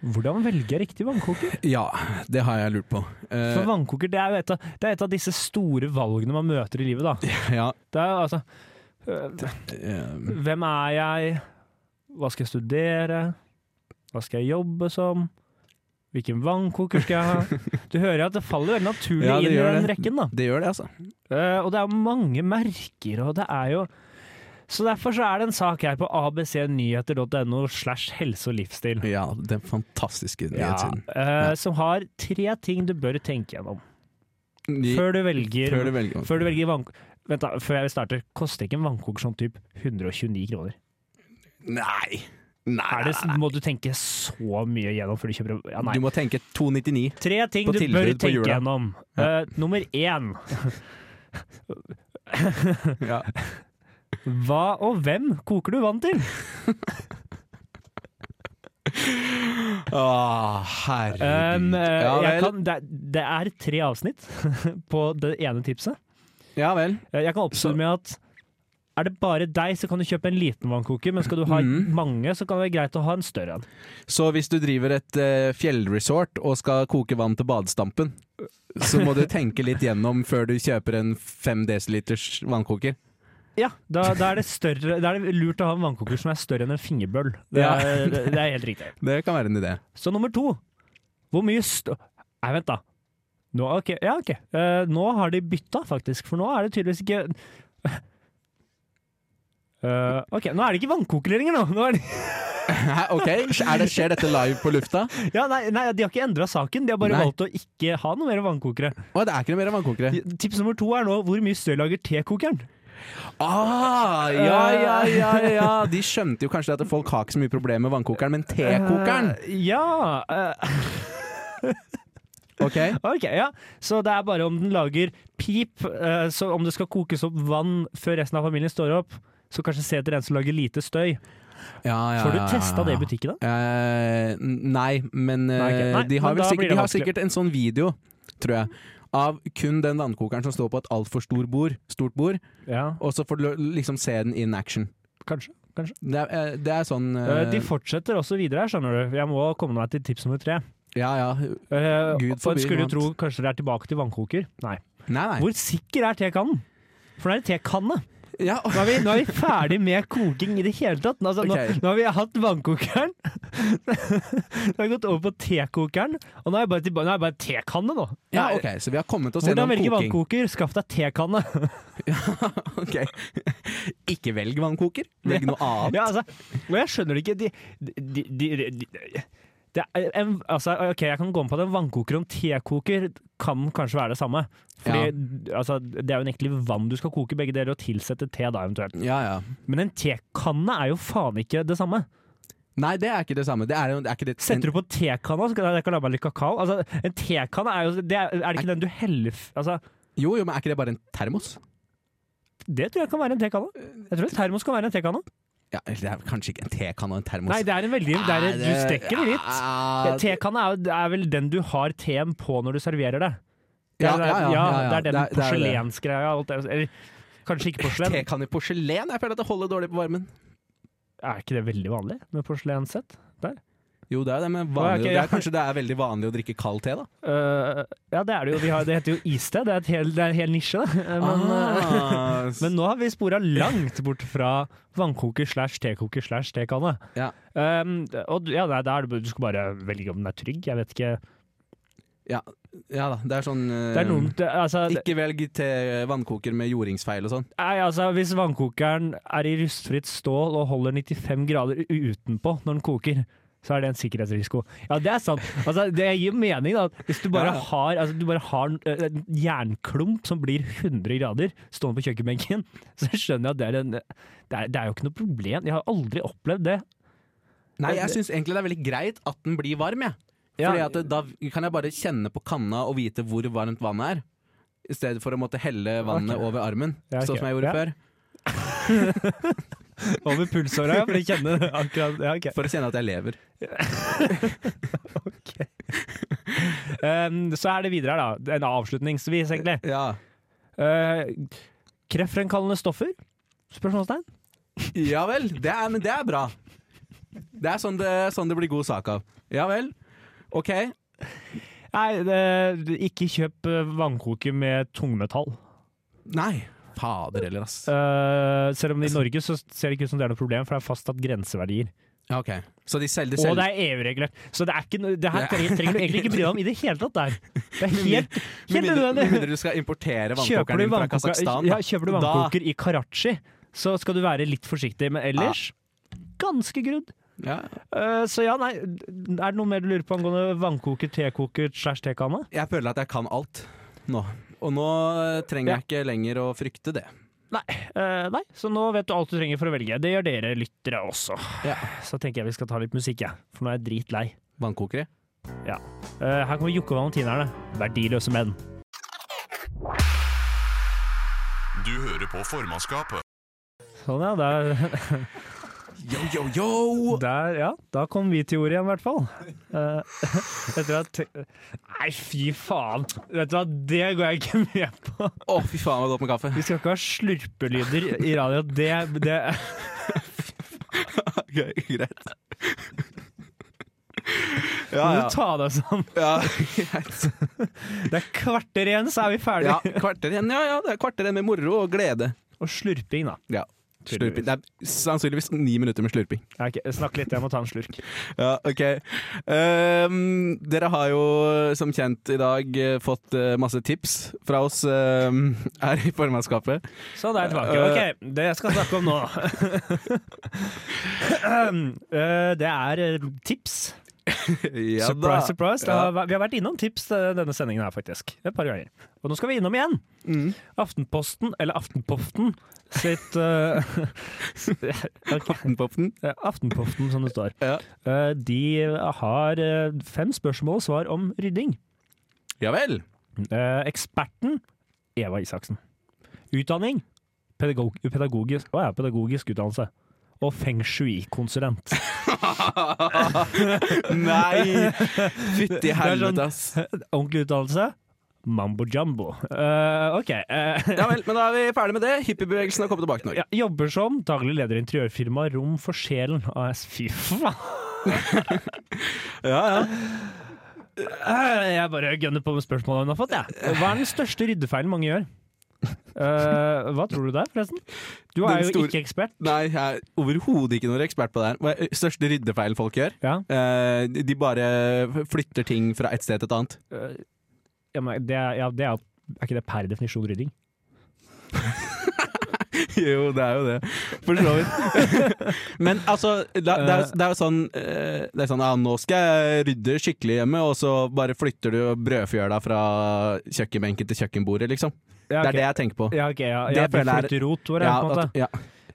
Hvordan velger jeg riktig vannkoker?
ja, det har jeg lurt på. Eh,
For vannkoker det er jo et av, det er et av disse store valgene man møter i livet, da.
ja,
Det er jo altså eh,
eh,
Hvem er jeg? Hva skal jeg studere? Hva skal jeg jobbe som? Hvilken vannkoker skal
[LAUGHS]
jeg ha? Du hører at det faller veldig naturlig
Ja, det
inn i
gjør
den
det.
rekken, da.
det gjør det, altså.
Eh, og det er mange merker, og det er jo Så derfor så er det en sak her på abcnyheter.no slash helse og livsstil.
Ja, den fantastiske
Ja,
nyhetssiden.
eh, som har tre ting du bør tenke gjennom
De-
før du velger
Før du velger.
Før du velger vann- Vent da, før jeg starter, koster ikke en vannkoker sånn type 129 kroner?
Nei. Nei.
Er det, må du tenke så mye gjennom før du kjøper en- ja, nei.
Du må tenke 299.
Tre ting
På
du bør
tilbud på
tenke
jula.
gjennom. Eh, nummer én.
Ja.
Hva og hvem koker du vann til?
Å, herregud.
Um, eh,
ja,
jeg
vel.
kan, det, er- det er tre avsnitt [LAUGHS] på det ene tipset.
ja vel.
Eh, Jeg kan oppsummere med at er det bare deg, så kan du kjøpe en liten vannkoker, men skal du ha mange, så kan det være greit å ha en større en.
Så hvis du driver et eh, fjellresort og skal koke vann til badestampen, så
[LAUGHS]
må du tenke litt gjennom før du kjøper en 5 dl vannkoker.
Ja, da, da, er det større, da er det lurt å ha en vannkoker som er større enn en fingerbøl. Det
Ja.
er, det, det er helt riktig.
Det kan være en idé.
Så nummer to. Hvor mye stå... Nei, vent, da. Nå, ok, ja, ok. Eh, nå har de bytta, faktisk, for nå er det tydeligvis ikke [LAUGHS] Eh, OK, nå er det ikke vannkoker lenger, nå! nå er det...
Hæ, ok, er det, Skjer dette live på lufta?
Ja, nei, nei, de har ikke endra saken, de har bare
Nei.
valgt å ikke ha noe mer vannkokere.
Å, det er ikke noe mer vannkokere.
Tips nummer to er nå hvor mye støy lager tekokeren?
Ah, ja, ja, ja, ja.
Eh,
[LAUGHS] De skjønte jo kanskje at folk har ikke så mye problemer med vannkokeren, men tekokeren
Eh, ja, eh,
Ok,
ok, ja. Så det er bare om den lager pip, eh, så om det skal kokes opp vann før resten av familien står opp, så kanskje se etter en som lager lite støy.
ja, ja,
Får du
ja, ja,
testa det i
ja.
butikken, da?
Eh, n- nei, men eh,
Nei, ok. Nei,
de har, vel
men da blir
sikkert,
det
de har
vanskelig.
sikkert en sånn video, tror jeg, av kun den vannkokeren som står på et altfor stor bord, stort bord,
Ja,
og så får du liksom se den in action.
kanskje. kanskje.
Det er, eh, det er sånn eh,
Eh, de fortsetter også videre her, skjønner du. Jeg må komme meg til tips nummer tre.
Ja, ja.
Uh,
Gud
for en
forby
skulle
noe
jo tro kanskje det er tilbake til vannkoker. Nei.
Nei, nei.
Hvor sikker er tekannen? For det er en tekanne.
Ja.
Nå er, vi, nå er vi ferdig med koking i det hele tatt. Altså,
Ok.
nå, nå har vi hatt vannkokeren, [LAUGHS] så har vi gått over på tekokeren, og nå er jeg bare, tilba- nå er jeg bare tekanne nå.
Ja, ok, Så vi har kommet oss
Hvordan
gjennom
velge
koking.
vannkoker? Skaff deg [LAUGHS] tekanne.
[LAUGHS] Ok. Ikke velg vannkoker. Velg noe annet.
Ja, altså, og jeg skjønner det ikke. De, de, de, de, de det er en, altså, ok, Jeg kan gå med på at en vannkoker og en tekoker kan kanskje være det samme. Fordi, altså, Det er jo egentlig vann du skal koke begge deler, og tilsette te da eventuelt.
Ja, ja.
Men en tekanne er jo faen ikke det samme.
Nei, det er ikke det samme. Det er, jo- det er ikke det
Setter du på tekanna, så kan jeg kan la meg litt kakao. Altså, en tekanne er jo det er, er det ikke den du heller f- altså,
Jo, jo, men er ikke det bare en termos?
Det tror jeg kan være en tekanne. Jeg tror en termos kan være en tekanne.
Ja, eller det er kanskje ikke en tekanne og en termos.
Nei, det er en veldig det er, Du strekker det litt.
Ja, det-
Tekanne er, jo- det er vel den du har teen på når du serverer det. Det
ja,
er,
ja, ja, ja, ja.
det er den
det er det.
porselensgreia. og alt det. Eller kanskje ikke
[LAUGHS]
porselen.
Tekanne i porselen? Jeg føler at det holder dårlig på varmen.
Er ikke det veldig vanlig med porselenssett? Der?
Jo, det er jo det, men
Å, ja,
vanlig,
ok,
det
ja.
er, kanskje det er veldig vanlig å drikke kald te, da.
Øh, ja, det er det jo. Vi har, det heter jo iste. Det er, et hel, det er en hel nisje, det. Men, øh,
Ah, s-
Men nå har vi spora langt bort fra vannkoker slash tekoker slash tekanne.
Ja.
Um, og du- ja, nei, da er det, bare- du skal bare velge om den er trygg. Jeg vet ikke.
ja da, det er sånn eh,
Det er noen, det, altså, det,
Ikke velg te vannkoker med jordingsfeil og sånn.
nei, altså, hvis vannkokeren er i rustfritt stål og holder 95 grader u- utenpå når den koker, så er det en sikkerhetsrisiko. Ja, det er sant. Altså, det gir mening, da. Hvis du bare
Ja, ja.
har, altså, du bare har en, en jernklump som blir 100 grader stående på kjøkkenbenken, [LAUGHS] så skjønner jeg at det er en Det er, det er jo ikke noe problem. Jeg har aldri opplevd det.
Nei, jeg syns egentlig det er veldig greit at den blir varm, jeg.
Ja.
Fordi at det, da kan jeg bare kjenne på kanna og vite hvor varmt vannet er. I stedet for å måtte helle vannet
Ok.
over armen,
Ja, ok.
sånn som jeg gjorde
Ja.
før.
Over pulsåra, ja, for å kjenne det [LAUGHS] akkurat. Ja, ok.
For å kjenne at jeg lever.
um, så er det videre her, da. En avslutningsvis, egentlig.
Ja,
Uh, kreftfremkallende stoffer? Spørsmålstegn?
ja vel, det er, men det er bra. Det er sånn det, sånn det blir god sak av. Ja vel. Ok.
Nei, det, ikke kjøp eh, vannkoker med tungmetall.
Nei. Fader heller, ass.
Uh, selv om det i Norge så ser det ikke ut som det er noe problem, for det er fastsatt grenseverdier.
Ja, Ok, Så de selger
Og
selv...
det er EU-regulert. Så det er ikke noe- det her
Ja.
trenger trenger du egentlig ikke bry deg om i det hele tatt. Der. Det er helt,
Med
helt
mindre, med
unødvendig.
mindre du skal importere
Kjøper
vannkokeren
du
din fra
vannkoker,
Kasakhstan.
ja, kjøper du vannkoker i Karachi, så skal du være litt forsiktig. Men ellers ganske grudd.
Ja.
Eh, så ja, nei, er det noe mer du lurer på angående vannkoker, tekoker slash tekanne?
Jeg føler at jeg kan alt nå. Og nå eh, trenger
Ja.
jeg ikke lenger å frykte det.
Nei, eh, nei, så nå vet du alt du trenger for å velge. Det gjør dere lyttere også.
Ja.
Så tenker jeg vi skal ta litt musikk, jeg, for nå er jeg dritlei.
Vannkokere.
Ja. Eh, her kommer Jokke og Valentinerne, verdiløse menn.
Du hører på formannskapet.
Sånn ja, der,
Yo, yo, yo!
der, ja, da kom vi til ordet igjen, i hvert fall. Eh, [LAUGHS] etter at Nei, fy faen! Vet du hva, det går jeg ikke [LAUGHS] med på.
Å, fy faen, det var godt med [LAUGHS] kaffe.
Vi skal ikke ha slurpelyder i radio. Det, det
Gøy, greit. [LAUGHS]
må
Ja,
du ta deg sammen.
ja. [LAUGHS] greit.
Det er kvarter igjen, så er vi ferdige.
ja, [LAUGHS] kvarter igjen. Ja, ja, det er kvarter igjen med moro og glede.
[LAUGHS] Og slurping, da.
Ja. Slurping. Det er sannsynligvis ni minutter med slurping.
Ja, ok, snakk litt, jeg må ta en slurk.
Ja, ok. Ehm, dere har jo som kjent i dag eh, fått eh, masse tips fra oss ehm, her i formannskapet.
Sånn, da er jeg
Eh,
tilbake. Ok, det jeg skal snakke om nå [LAUGHS] Eh, Det er eh, tips.
ja,
Surprise, surprise. Det
Ja.
har, væ- vi har vært innom tips eh, denne sendingen her, faktisk. Et par ganger. Og nå skal vi innom igjen.
Mm.
Aftenposten, eller Aftenpoften, sitt eh, [LAUGHS] ok,
Aftenpopten.
eh, Aftenpoften, som det står.
Ja.
Eh, de har eh, fem spørsmål og svar om rydding.
ja [LAUGHS] vel.
Eh, eksperten Eva Isaksen. Utdanning pedagog, pedagogisk, å ja, pedagogisk utdannelse. Og feng shui-konsulent.
[LAUGHS] Nei! Fytti
sånn-
helvete, ass.
Ordentlig utdannelse? Mambo jumbo. Eh, ok. eh,
Ja vel, men da er vi ferdig med det. Hippiebevegelsen har kommet tilbake til Norge.
ja, jobber som daglig leder i interiørfirmaet Rom for sjelen AS. Fy faen!
[LAUGHS] Ja, ja.
Eh, Jeg bare gønner på med spørsmålene hun har fått. jeg. Hva er den største ryddefeilen mange gjør? Eh, hva tror du der, forresten? Du er
Den
jo
store-
ikke ekspert.
Nei, jeg er overhodet ikke noen ekspert på det her. Hva er Største ryddefeilen folk gjør?
Ja.
Eh, de bare flytter ting fra et sted til et annet. [LAUGHS]
Eh, ja, men det, er- ja, det er, jo- er ikke det per definisjon rydding?
Jo, det er jo det. For så vidt. Men altså, det, det, er, det er jo sånn eh, Det er sånn, ja, Nå skal jeg rydde skikkelig hjemme, og så bare flytter du brødfjøla fra kjøkkenbenken til kjøkkenbordet, liksom.
Ja,
Det er det jeg tenker på.
Ja, ok, ja,
Det
ja, du
føler jeg er-
flytter rot, hvor er det, på en måte?
at- ja.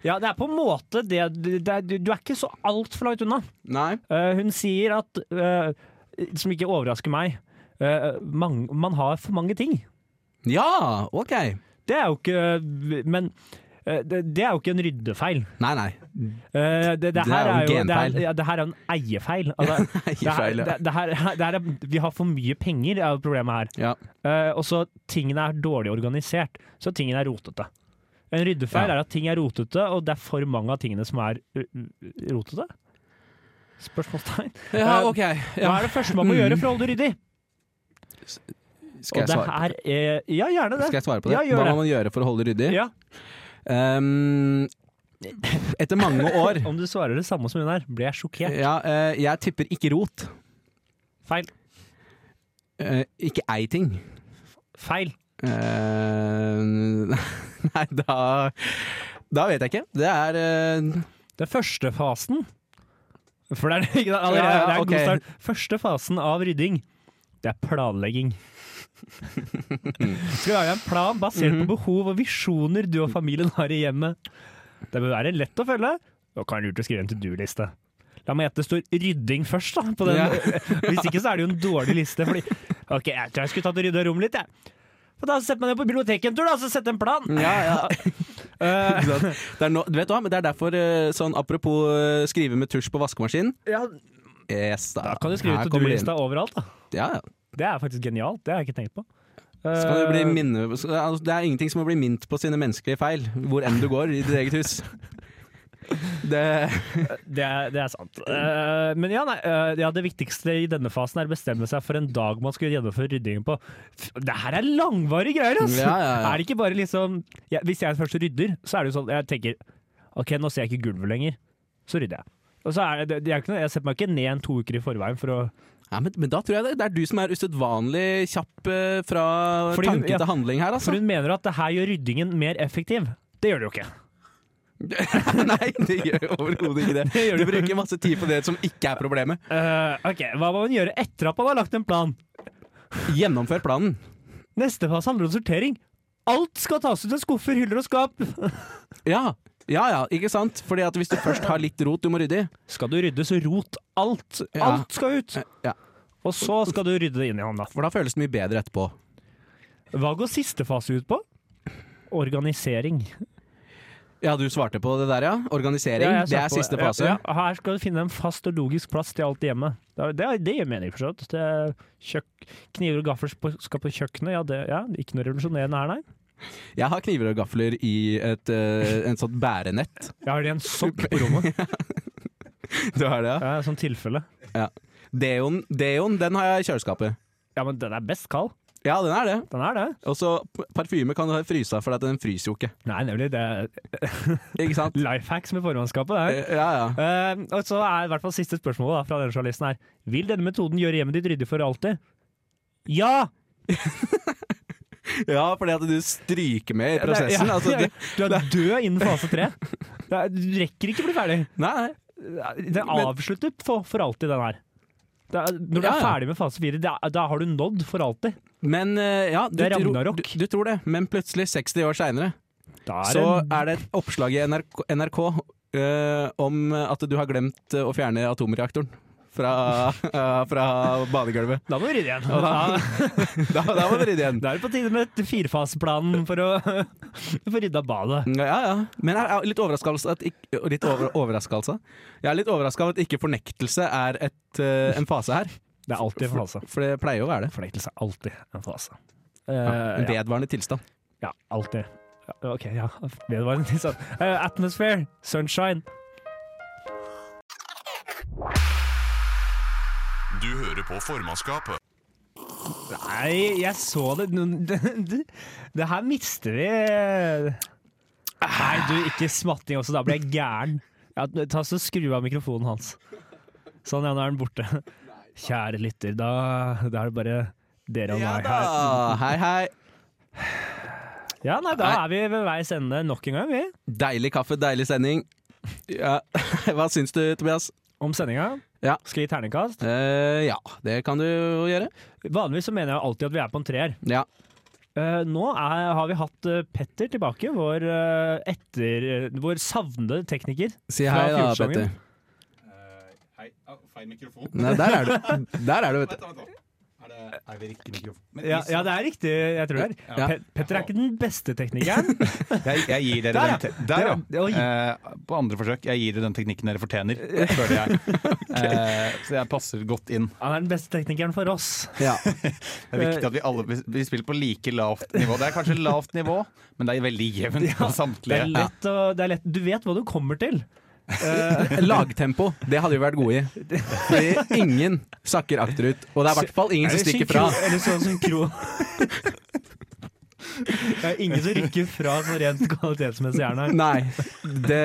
Ja, det er på en måte det, det er, Du er ikke så altfor langt unna.
Nei.
Eh, hun sier at eh, Som ikke overrasker meg. eh, mang- man har for mange ting.
Ja, OK. Nei,
Det er jo ikke Men eh, det, det er jo ikke en ryddefeil.
nei. [LAUGHS]
Eh, det, det,
Det
her
er jo en
er jo det,
genfeil.
er, ja, det her er jo en eiefeil.
[LAUGHS]
Altså, det her,
Eierfeil,
det,
ja.
det her, [LAUGHS] det her er, vi har for mye penger, er jo problemet her.
ja.
Eh, og så tingene er dårlig organisert, så tingene er rotete. En ryddefeil
Ja.
er at ting er rotete, og det er for mange av tingene som er uh, uh, rotete. Spørsmålstegn.
Ja,
Eh,
OK.
Hva
Ja. Mm.
er det første man må gjøre for å holde det ryddig?
Skal
og
jeg
det
svare?
her er Ja, gjerne det.
Skal jeg svare på det?
Ja, gjør
Hva
det.
må man gjøre for å holde det ryddig?
Ja,
Ehm, [LAUGHS] etter mange år
[LAUGHS] Om du svarer det samme som hun her, blir jeg sjokkert.
ja, eh, Jeg tipper ikke rot.
Feil.
Eh, ikke ei ting.
Feil.
Eh, [LAUGHS] nei, da Da vet jeg ikke. Det er eh,
Den første fasen For det er, [LAUGHS] ikke, det er, allerede-
Ja, ja,
det er en
ok.
god start. Første fasen av rydding, det er
[LAUGHS]
planlegging. Skal lage en plan basert
Mhm.
på behov og visjoner du og familien har i hjemmet. Det bør være lett å følge, og kan lurt å skrive en to do-liste. La meg gjette, det står rydding først, da. På den.
Ja.
[LAUGHS] Hvis ikke så er det jo en dårlig liste. Fordi, ok, jeg tror jeg skulle tatt og rydda rommet litt, jeg. Og da setter man ned på biblioteket en tur, da, og så setter en plan. [LAUGHS] Eh,
Ikke sant? Det er, no, du vet hva, men det er derfor, eh, sånn apropos eh, skrive med tusj på vaskemaskinen
ja,
yes, da.
da kan du skrive
Her
to
kommer det inn.
do-lista overalt, da.
Ja, ja.
Det er faktisk genialt, det har jeg ikke tenkt på.
Så kan det, bli
Eh,
minne, så- altså, det er ingenting som å bli minnet på sine menneskelige feil, hvor enn du går i ditt eget hus. [LAUGHS] Det
det, er, det er sant. Eh, men ja, nei, eh, ja, det viktigste i denne fasen er å bestemme seg for en dag man skal gjennomføre ryddingen på. F- Det her er langvarige greier, altså!
Ja, ja, ja.
Er det ikke bare liksom ja, Hvis jeg først rydder, så er det jo sånn Jeg tenker OK, nå ser jeg ikke gulvet lenger. Så rydder jeg. Og så er det, det er ikke noe, jeg setter meg ikke ned en to uker i forveien for å
ja, men, men da tror jeg det, det er du som er usedvanlig kjapp eh, fra
Fordi hun-
tanke
ja.
til handling her, altså.
For hun mener at det her gjør ryddingen mer effektiv. Det gjør det jo ikke.
[LAUGHS] Nei, det gjør overhodet ikke det.
gjør
Du
det.
bruker masse tid på det som ikke er problemet.
Eh, OK, hva må man gjøre etter at man har lagt en plan?
Gjennomfør planen.
Neste fase handler om sortering. Alt skal tas ut av skuffer, hyller og skap.
Ja, ja, ja ikke sant? Fordi at hvis du først har litt rot du må rydde i
Skal du rydde, så rot alt.
Ja.
Alt skal ut.
ja.
Og så skal du rydde det inn i hånda.
For da føles det mye bedre etterpå.
Hva går siste fase ut på? Organisering.
Ja, du svarte på det der, ja. Organisering.
Ja,
det
jeg sa
er
på-
siste fase.
Ja, ja. Her skal du finne en fast og logisk plass til alt i hjemmet. Det, er- det, er- det gir mening, for så vidt. Det er kjøk- Kniver og gafler sp- skal på kjøkkenet. Ja, det, ja, ikke noe revolusjonerende her, nei.
Jeg har kniver og gafler i et eh, en sånt bærenett.
Jeg har det i en sokk på rommet.
[LAUGHS] Du har det,
Ja, sånn tilfelle.
ja? Deon, Deon, den har jeg i kjøleskapet.
Ja, men den er best kald.
Ja, den er det.
Den er det.
Og så p- parfyme kan du ha i frysa, for at den fryser jo ikke.
Nei, nemlig. Det er
Ikke [LAUGHS] sant?
life hacks med formannskapet. Det her.
Eh, Ja, ja.
Eh, og så er i hvert fall siste spørsmål da, fra denne journalisten her. Vil denne metoden gjøre hjemmet ditt ryddig for alltid? Ja!
Ja, fordi at du stryker med i prosessen.
Det er- ja,
Altså, det,
[LAUGHS] du er død innen fase tre. Det er- Du rekker ikke å bli ferdig.
nei, [LAUGHS] nei.
Det avslutter for, for alltid, den her. Det er, når du
Ja,
er
ja.
ferdig med fase fire, da, da har du nådd for alltid.
Men eh, ja, du,
Det er
tro-
Ragnarok.
du, du tror det. Men plutselig, 60 år seinere,
Da er
så
det,
er det et oppslag i NRK, NRK eh, om at du har glemt eh, å fjerne atomreaktoren fra, [LAUGHS] eh, fra badegulvet.
da må du rydde igjen.
Og da-
Da,
Da, da må du rydde igjen.
da er det på tide med et firefaseplanen for å [LAUGHS] få rydda badet.
Ja, ja. Men jeg er litt overraskelse at ikke, litt over, overraskelse. Jeg er litt overraska over at ikke fornektelse er et, eh, en fase her.
Det er alltid en fase.
For det pleier jo å være det.
Fornektelse er alltid en fase.
En
Eh, ja.
vedvarende tilstand.
Ja, alltid. Ja, ok, ja. Det var en litt sånn Eh, Atmosphere, sunshine.
Du hører på formannskapet.
Nei, jeg så det Det, det, det her mister vi Nei, du, ikke smatting også. Da blir jeg gæren. Ja, ta så Skru av mikrofonen hans. Sånn, ja, nå er den borte. Kjære lytter, da, da er det bare dere og
Ja
meg
da!
her.
Hei, hei.
Ja, nei, da er vi ved veis ende nok en gang, vi.
Deilig kaffe, deilig sending. Ja. [LAUGHS] Hva syns du, Tobias?
Om sendinga.
Ja.
Skal vi gi terningkast?
Eh, ja, det kan du jo gjøre.
Vanligvis så mener jeg alltid at vi er på en treer.
Ja.
Eh, nå er, har vi hatt eh, Petter tilbake, vår, eh, etter, vår savnede tekniker.
Si
Fra
hei da,
Fjordsongen.
Petter.
Hei. Au, feil mikrofon.
Nei, der er du. Der er du, vet du.
Vent, da, vent, da. Er det, er det riktig mikrofon? Men
Ja,
hvis-
ja, det er riktig, jeg tror det er.
Ja.
Pe Petter er ikke den beste teknikeren.
Jeg, jeg gir dere
Der, ja.
den te Der,
Der, ja. Oi.
ja. Eh, på andre forsøk. Jeg gir dere den teknikken dere fortjener, føler
[LAUGHS]
jeg. Eh, så jeg passer godt inn.
[LAUGHS] Han er den beste teknikeren for oss.
Ja.
Det er
Eh,
viktig at vi alle vi, vi spiller på like lavt nivå. Det er kanskje lavt nivå, men det er veldig jevnt på
Det er
samtlige.
lett, å, det er lett. Du vet hva du kommer til.
Eh, Lagtempo, det hadde vi vært gode i. Fordi ingen sakker akterut. Og det er i hvert fall ingen som stikker fra.
Eller sånn [LAUGHS] synkro. Det er ingen som rykker fra sånn rent kvalitetsmessig her, nei.
Nei, det,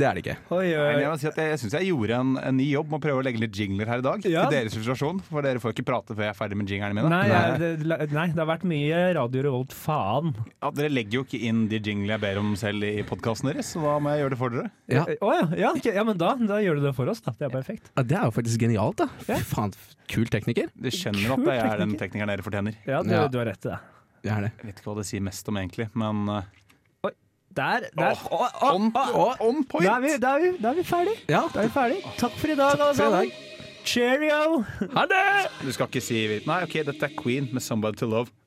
det er det ikke.
Oi,
Nei, men Jeg,
oi.
må si at jeg, jeg syns jeg gjorde en, en ny jobb med å prøve å legge litt jingler her i dag.
Ja.
Til deres frustrasjon, for dere får ikke prate før jeg er ferdig med jinglerne mine. eh,
Nei, jeg, det, nei, det har vært mye Radio Revolt, faen.
Ja, dere legger jo ikke inn de jinglene jeg ber om selv i podkasten deres, så da må jeg gjøre det for dere.
Ja,
Eh, Å ja, ja, ok, ja, men da, da gjør du det for oss, da. Det er perfekt.
Det er jo faktisk genialt, da. Fy faen, kul tekniker.
Dere skjønner at jeg er den teknikeren dere fortjener.
Ja, du,
Ja.
du har rett i det.
Det er det.
Jeg vet ikke hva det sier mest om egentlig, men eh,
Der, der.
on, Ah, on point!
Da er vi, da er vi, da er vi ferdig.
Ja,
Da er vi ferdig. Takk for i dag, alle
for i
sammen. Cheerio!
ha det!
Du skal ikke si Nei, OK, dette er Queen med 'Somebody to Love'.